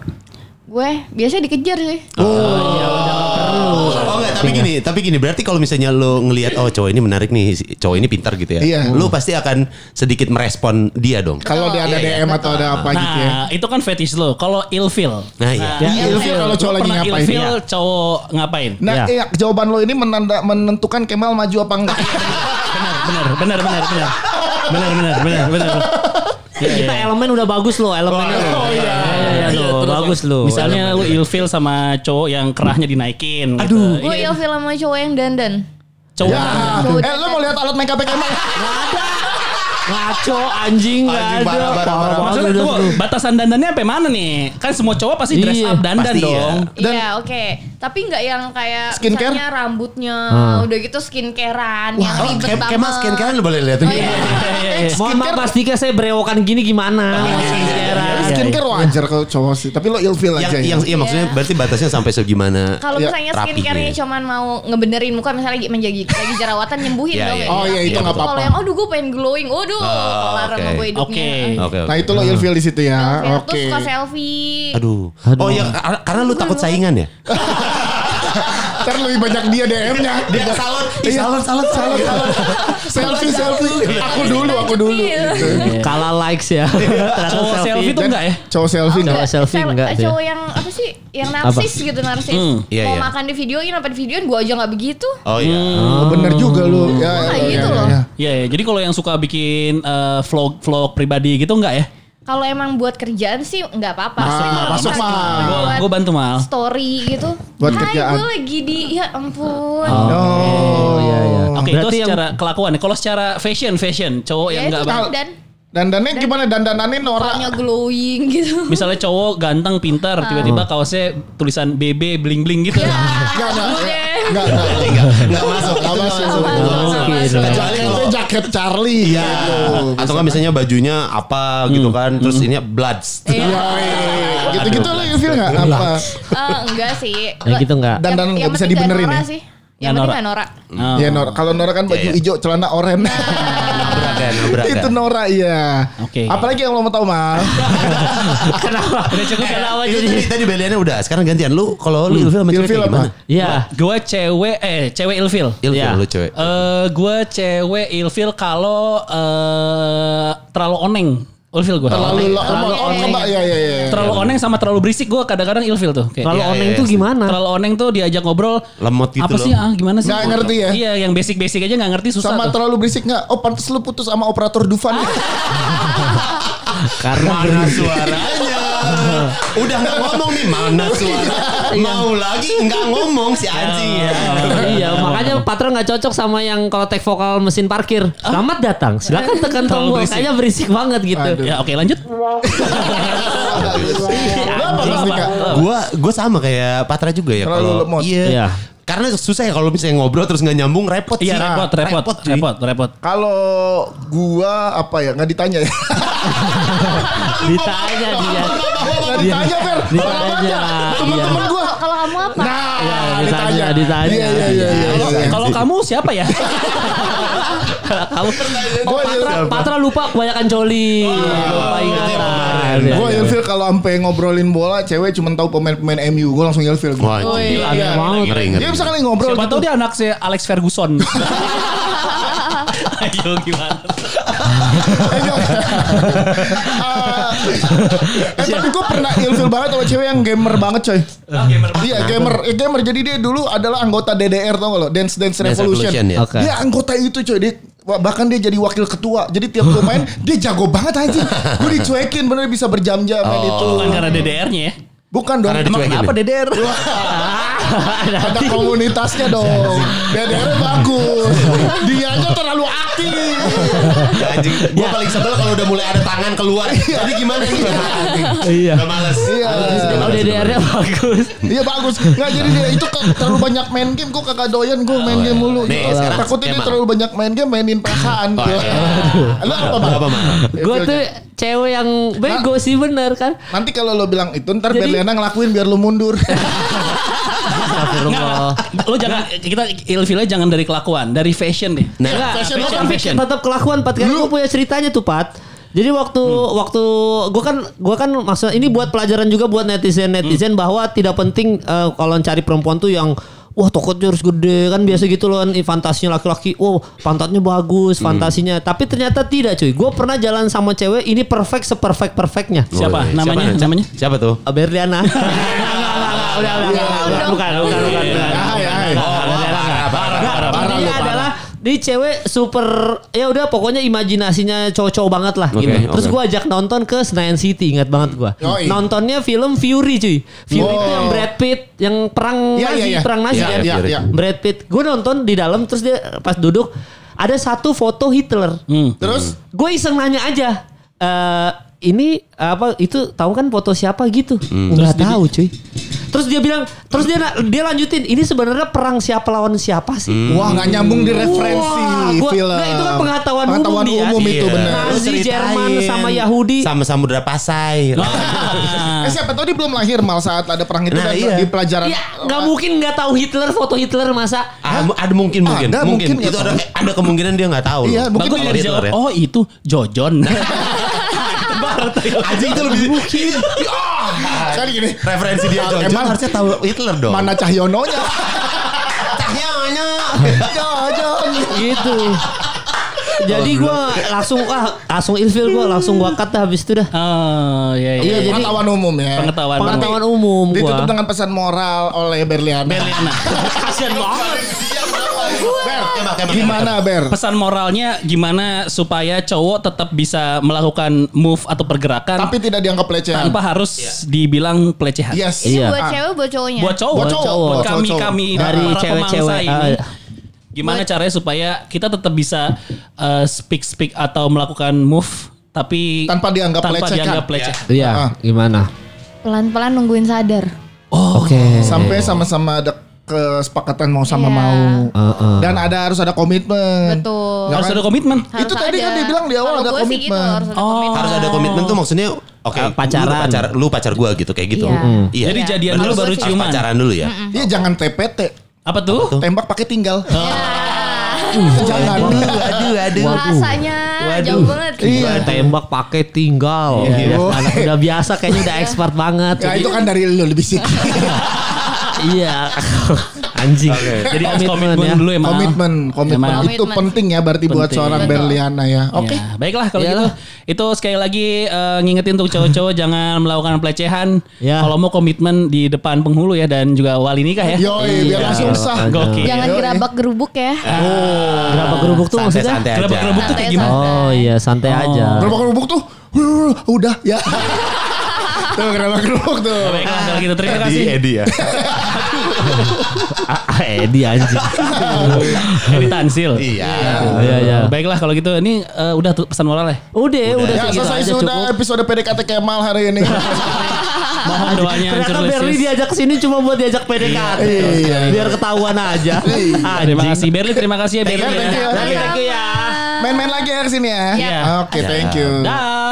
A: gue biasanya dikejar sih
C: iya, Oh enggak, tapi gini, tapi gini berarti kalau misalnya lo ngelihat oh cowok ini menarik nih, si- cowok ini pintar gitu ya.
D: Iya.
C: Lo pasti akan sedikit merespon dia dong.
D: kalau dia
C: iya,
D: ada DM atau ada apa gitu ya
E: Nah, itu kan fetish lo. Kalau ilfil.
C: Nah, iya.
D: Iya, ilfil kalau cowok
E: Lo
D: lagi
E: pernah
D: ngapain
E: Ilfil cowok ngapain?
D: nah iya, jawaban lo ini menanda menentukan Kemal maju apa enggak
E: Benar, benar, benar, benar. Benar, benar, benar, benar. Iya, iya.
B: Kita elemen udah bagus loh elemennya loh.
D: oh iya.
B: Iya, iya,
D: Iya,
B: loh,
D: terus.
B: bagus loh.
E: Misalnya lu ilfil sama cowok yang kerahnya dinaikin. Aduh.
A: gue
D: Iya.
A: ilfil sama cowok yang dandan
E: Cowok.
D: ya eh lo mau lihat alat make up Kemal
B: ngaco anjing nggak ada.
C: Anjing, parah, parah, parah.
B: Parah
E: Maksudnya
B: banget
E: tunggu,
B: lu.
E: batasan dandannya apa mana nih? Kan semua cowok pasti dress
B: Iya,
E: up dandan
C: pasti ya.
E: dong.
D: Dan-
A: Iya oke, tapi nggak yang kayak
D: Skincare? Ah.
A: misalnya rambutnya udah gitu skincarean yang
C: Oh,
A: ribet
C: kem
A: banget. Oh, iya.
C: kemas ken kenan lo boleh lihat
D: Oh,
C: Iya. ini.
D: iya.
B: Mohon maaf Mas Dika saya berewokan gini gimana?
D: iya. skincare wajar kalau cowok sih tapi lo ilfil
C: Iya, Yang
D: aja ya
C: yang iya maksudnya berarti batasnya sampai segimana?
A: Kalau
D: Ya,
A: misalnya
C: rapinya.
A: skincarenya cuman mau ngebenerin muka misalnya lagi menjadi lagi jerawatan nyembuhin
C: Iya,
A: dong.
C: iya.
A: ya.
D: Oh, iya,
A: Tapi
D: itu nggak
A: Kalau
D: apa-apa. Ah,
A: yang aduh gue pengen glowing, waduh kelar sama
C: oke.
A: gue hidupnya.
E: Oke.
C: Oke.
D: nah
C: oke.
D: itu lo ilfil di situ ya
A: Terus
D: oke
A: suka selfie.
C: Aduh. Oh ya karena lu takut saingan ya?
D: Ntar lebih banyak dia DM-nya.
C: Dia ke salon, ih,
D: Iya.
C: salon, salon, Iya.
D: Salah, salah. Selfie, selfie. Aku dulu, aku dulu.
A: Iya.
D: Gitu.
B: Kalah likes ya. Ternyata
E: Cowok selfie
B: kan.
E: tuh
D: Dan
E: enggak ya?
D: Cowok selfie
B: Cowok
D: enggak.
B: selfie
A: Sel-
B: enggak sih.
A: Cowok yang apa sih? Yang narsis gitu narsis.
C: iya,
A: Mau
C: iya.
A: makan di videoin apa di videoin gue aja nggak begitu.
C: Oh iya.
D: Oh, bener juga lu. Ya,
A: Nah,
D: ya,
A: gitu
D: ya,
A: loh.
D: ya.
E: Iya, ya. jadi kalau yang suka bikin eh, vlog vlog pribadi gitu enggak ya?
A: kalau emang buat kerjaan sih nggak apa-apa.
D: Masuk,
A: Tapi kalau
D: masuk,
A: misalnya buat
D: Mal.
E: Gua- gua bantu, Mal.
A: Story gitu.
D: Buat
A: Hai,
D: kerjaan.
A: gue lagi di ya ampun.
B: Oh, iya iya.
E: Oke, itu
B: Berarti yang-
E: secara kelakuan. ya. Kalau secara fashion, fashion cowok
A: ya
E: yang
A: itu
E: enggak
A: kan
E: banget.
A: dan
D: Dandannya gimana? Dandanannya norak.
A: soalnya glowing gitu.
E: Misalnya cowok ganteng, pintar, tiba-tiba kaosnya tulisan BB bling-bling gitu.
A: Ya,
D: Enggak, enggak.
A: lu deh.
D: Enggak, enggak.
C: Nggak masuk,
D: Nggak
C: itu nggak
D: masuk.
C: masuk.
A: Nggak masuk.
B: Oke,
A: Masuk.
B: dong.
D: Kecuali itu jaket Charlie.
C: Iya. Atau kan misalnya bajunya apa gitu kan, terus ini Bloods.
A: Iya.
D: Iya. Gitu-gitu lo feel enggak? Apa?
A: Eh, enggak sih.
B: Yang gitu nggak?
A: Yang-
D: Dandanan nggak
A: yang
D: bisa
A: penting nggak
D: dibenerin
A: norak
D: ya?
A: sih. Yang
E: Nggak
A: penting
E: norak.
A: nggak norak.
E: Oh.
D: Iya norak. Kalau norak kan baju
C: Iya, iya.
D: hijau, celana oranye.
C: Nabrak ya, nabrak ya.
D: Itu norak ya.
E: Oke.
D: Apalagi yang lo mau tahu mal?
B: Kenapa? Udah cukup kenapa
C: Itu
B: jadi?
C: tadi, tadi beliannya udah. Sekarang gantian lu kalau lu ilfil sama cewek
D: Ilfil
C: kayak
D: apa?
C: gimana?
B: Iya.
E: Gua cewek eh cewek ilfil.
C: Ilfil
B: Iya.
C: lu cewek.
E: Eh gua cewek ilfil kalau eh terlalu oneng. Ilfil gua.
D: Terlalu lo terlalu
A: oneng.
D: oneng. Ya ya ya.
E: Terlalu oneng sama terlalu berisik gua kadang-kadang ilfil tuh. Kayak,
B: Terlalu
C: Iya,
B: oneng
C: iya,
B: tuh
C: iya.
B: gimana?
E: terlalu oneng tuh diajak ngobrol
C: Lemot gitu
E: apa
C: loh.
E: sih ah gimana sih
D: Nggak ngerti ya?
E: iya yang basic basic aja nggak ngerti susah
D: Sama
E: tuh.
D: terlalu berisik nggak? Oh pantas lu putus sama operator Dufan. ya.
C: Ah.
B: Karena
E: Iya,
C: Mana suaranya? Udah nggak ngomong nih, mana suara? Mau lagi nggak ngomong si anjing ya.
B: iya, makanya
E: ah.
B: patron nggak cocok sama yang kalau tag vokal mesin parkir. Selamat datang. Silakan tekan
E: Terlalu
B: tombol.
E: berisik.
B: Kayaknya berisik banget gitu.
E: ya oke lanjut
B: ya?
D: Lo apa Mas Dika?
C: Gua gua sama kayak Patra juga ya.
D: Terlalu
C: kalau-
D: lemot.
C: Iya.
B: Iya.
C: Karena susah ya kalau misalnya ngobrol terus nggak nyambung repot sih.
E: iya repot repot
C: Repot, cuy.
E: repot repot
D: Kalau gua apa ya nggak ditanya ya?
B: Ditanya dia.
D: Nggak ditanya Fer. Orang
B: Ditanya.
D: banyak. Temen-temen gua.
A: Kalau- Kalau kamu apa?
D: Nah,
B: Iya, ditanya, ditanya.
D: Iya iya iya. iya,
E: Kalau-
D: iya.
E: kalau kamu siapa ya
B: Kamu
D: Gua
B: Patra,
D: ilfil.
B: Patra lupa kebanyakan
E: Iya.
B: coli. lupa ingatan. Iya,
D: Gua
B: iya.
D: ilfil kalau sampai ngobrolin bola, cewek cuma tahu pemain-pemain MU. Gua langsung ilfil.
C: Wah,
D: Gua.
C: anjing.
B: Iya, aneh banget.
C: Ngeri, ngeri.
D: Dia bisa kali ngobrol.
E: siapa
D: gitu.
E: tahu dia anak si Alex Ferguson ayo gimana
D: Eh, enggak. Ah, eh, tapi gue pernah ilfil banget sama cewek yang gamer banget coy. Iya gamer, Eh, gamer. Jadi dia dulu adalah anggota DDR tau gak lo, Dance Dance
C: Dance
D: Revolution.
C: Revolution, ya.
B: Oke.
D: Dia anggota itu coy. Dia, wah, bahkan dia jadi wakil ketua. Jadi tiap gue main dia jago banget anjing. Gue dicuekin bener bisa berjam-jam main itu.
E: bukan karena DDR-nya ya
D: Bukan dong.
C: Karena
D: Emang
C: dicuekin.
D: kenapa DDR? Ada komunitasnya dong. DDR bagus. Dianya terlalu aktif.
C: Ya, anjing. Gua paling sebel kalau udah mulai ada tangan keluar. Jadi gimana nih? Iya. Udah males.
D: Iya.
C: Udah
B: Oh,
C: males, udah
B: DDR-nya
C: males.
B: bagus.
D: Iya bagus. Nggak jadi dia itu ke- terlalu banyak main game. Gue kagak doyan gue main game mulu.
C: Oh, iya. Nih,
D: Gitu.
C: sekarang
D: Takutnya dia
C: skema.
D: terlalu banyak main game mainin perasaan.
C: Oh,
D: gua.
C: iya.
D: Lu apa bang?
C: Apa, Mak?
D: Oh,
B: Gue
D: iya,
B: tuh cewek yang bego sih bener kan.
D: Nanti kalau lo bilang itu ntar
B: Jadi-
D: Berliana ngelakuin biar lo mundur.
B: Astagfirullah.
E: lo jangan kita ilfilnya jangan dari kelakuan dari fashion deh
C: Nah,
B: Enggak,
D: fashion,
B: tetap-
E: fashion, fashion.
B: tetap kelakuan Pat kan gue punya ceritanya tuh Pat. Jadi waktu waktu gue kan gua kan maksud ini buat pelajaran juga buat netizen netizen bahwa tidak penting eh, kalau cari perempuan tuh yang Wah tokotnya harus gede kan biasa gitu loh kan fantasinya laki-laki. Wow pantatnya bagus fantasinya. Tapi ternyata tidak cuy. Gue pernah jalan sama cewek ini perfect seperfect perfectnya.
C: Boleh.
E: Siapa? Namanya?
C: Siapa?
E: Namanya?
C: Siapa tuh?
B: Berliana. Enggak, enggak, enggak,
A: iya,
B: udah, udah, udah, udah, udah, iya, bukan, bukan, bukan, bukan.
D: Ah, ya, ya.
B: Enggak,
C: Oh,
B: Berliana,
C: iya, parah,
B: enggak.
C: parah,
B: Enggak,
C: parah, parah,
B: Dia
C: parah.
B: adalah di cewek super ya udah pokoknya imajinasinya cowok-cowok banget lah
C: Oke,
B: gitu. Terus
C: oke.
B: gua ajak nonton ke Senayan City ingat banget gua.
D: Yoi.
B: Nontonnya film Fury cuy. Fury
D: Oh.
B: itu yang Brad Pitt yang perang
D: Iya,
B: Nazi,
D: iya, iya.
B: perang Nazi
D: Iya,
B: kan.
D: iya, iya.
B: Brad Pitt. Gue nonton di dalam terus dia pas duduk ada satu foto Hitler
C: Hmm.
D: Terus
B: gue iseng nanya aja eh ini apa itu tahu kan foto siapa gitu
C: Hmm.
B: nggak tahu cuy terus dia bilang terus dia na- dia lanjutin ini sebenarnya perang siapa lawan siapa
C: Hmm.
B: sih
D: wah nggak nyambung di referensi
B: Wah, gua-
D: film.
B: Nah, itu kan pengetahuan umum
D: Pengetahuan
B: dia.
D: umum itu
C: Iya.
D: benar.
B: Nazi,
C: Ceritain.
B: Jerman, sama Yahudi.
C: Sama Samudra
E: Nah.
C: Pasai.
D: Eh siapa tahu dia belum lahir mal saat ada perang itu
C: Nah,
D: kan
C: iya.
D: di pelajaran.
B: ya nggak mungkin nggak tahu Hitler foto Hitler masa
C: Ah, mu- ada mungkin mungkin
D: Ada,
C: mungkin, itu
D: mungkin, ya,
C: ada ada kemungkinan dia nggak tahu.
D: Iya,
C: loh.
D: mungkin
E: Bagus
C: kalau
E: dia
C: dia
E: jawab,
C: keluar ya.
E: oh itu Jojon.
C: Anjing itu lebih mungkin.
D: Kan gini.
C: Referensi dia John.
D: Emang-
C: John harusnya tahu Hitler dong.
D: Mana Cahyononya?
C: Cahyonya.
D: Ya, ya.
B: gitu jadi gue langsung ah langsung ilfil gue langsung gue kata habis itu dah
E: Oh iya iya.
B: Iya, jadi-
D: Pengetahuan umum ya.
E: Pengetahuan.
B: pengetahuan umum gue
D: Ditutup dengan pesan moral oleh Berliana.
E: Berliana.
B: kasian banget
D: Ber,
C: Kemal, Kemal.
D: Gimana Ber?
E: Pesan moralnya gimana supaya cowok tetap bisa melakukan move atau pergerakan
D: Tapi ya. tidak dianggap pelecehan.
E: tanpa harus dibilang pelecehan.
D: Yes.
A: Ini
B: Iya.
A: buat
D: Ah.
A: cewek buat cowoknya.
E: Buat cowok,
D: Buat cowok, buat cowok,
E: kami
D: cowok.
E: kami
B: Dari
E: para
B: cewek-cewek,
E: pemangsa ini.
D: iya.
B: ah.
E: Gimana caranya supaya kita tetap bisa uh, speak speak atau melakukan move tapi
D: Tanpa dianggap
E: tanpa
D: pelecehan.
E: dianggap pelecehan.
B: Iya,
D: Ah.
B: gimana?
A: Pelan-pelan nungguin sadar.
D: Hmm.
B: Oke.
D: Sampai sama-sama ada kesepakatan mau
A: Iya.
D: sama mau.
B: Heeh.
D: Dan ada harus ada komitmen.
A: Betul.
D: Ya
E: Oh, Harus
D: kan?
E: ada komitmen.
A: Harus
D: Itu tadi
A: ada.
D: kan dia bilang di awal
A: Kalau
D: ada
A: gua sih
D: komitmen.
A: gitu, harus
E: Oh.
A: ada komitmen.
C: Harus ada komitmen tuh maksudnya oke
B: Eh, pacaran.
C: Lu pacar, lu pacar gua gitu kayak gitu.
A: Iya. Mm.
C: Iya.
E: Jadi jadian
C: Berarti
E: dulu baru
C: harus
E: ciuman.
C: Pacaran dulu ya.
D: Iya jangan TPT.
E: Apa tuh?
D: Tembak pakai tinggal.
A: Iya.
D: jangan.
C: aduh, aduh.
A: Ya, Rasanya jauh banget.
D: Iya.
B: Tembak pakai tinggal.
D: Iya.
B: Udah, anak udah biasa kayaknya udah expert banget.
D: Ya itu kan dari lu lebih sih.
B: iya. Anjing. ya.
E: Jadi harus komitmen ya. dulu emang.
D: komitmen, komitmen
E: Emang.
D: itu
A: Komitmen.
D: penting ya berarti buat
E: Penting. Iya.
D: seorang
A: Betul.
D: Berliana ya. Oke.
E: Oke, baiklah kalau gitu. Itu sekali lagi eh, ngingetin untuk cowok-cowok jangan melakukan pelecehan.
B: Ya.
E: Kalau mau komitmen di depan penghulu ya dan juga wali nikah ya.
D: Yoi, biar
B: Iya.
D: langsung sah.
E: Gokil.
A: Jangan
D: Yoi.
A: gerabak gerubuk ya.
D: Iya.
B: Berapa gerubuk tuh maksudnya?
C: Santai-santai aja.
E: Gerobak-gerobak tuh
A: Santai,
E: kayak gimana?
A: santai.
B: Oh iya, santai aja.
D: Gerobak gerobak tuh "Huh, udah ya. tuh gerobak gerobak tuh.
E: Baiklah kalau gitu terima
C: Di
E: kasih.
C: Edi ya.
B: Ah, ah, Edi anjing.
E: Edi Tansil.
C: Iya.
B: Iya, iya.
E: Baiklah kalau gitu ini eh, udah tuh pesan moral ya.
B: Udah, udah
D: Ya
B: segitu
D: selesai
B: aja
D: sudah
B: cukup.
D: episode PDKT Kemal hari ini.
E: Mohon
D: Ah,
E: doanya
B: Ternyata
E: Hancur
B: Berli
E: Lesis.
B: diajak sini cuma buat diajak PDKT.
D: Iya.
B: Biar ketahuan aja.
E: Terima
B: Anjing.
E: kasih Berli, terima kasih ya Berli.
D: you,
E: ya.
D: thank you.
B: Berli, thank you ya.
D: Main-main lagi ya kesini ya.
E: Iya.
D: Oke, thank you.
E: Dah.
A: Iya.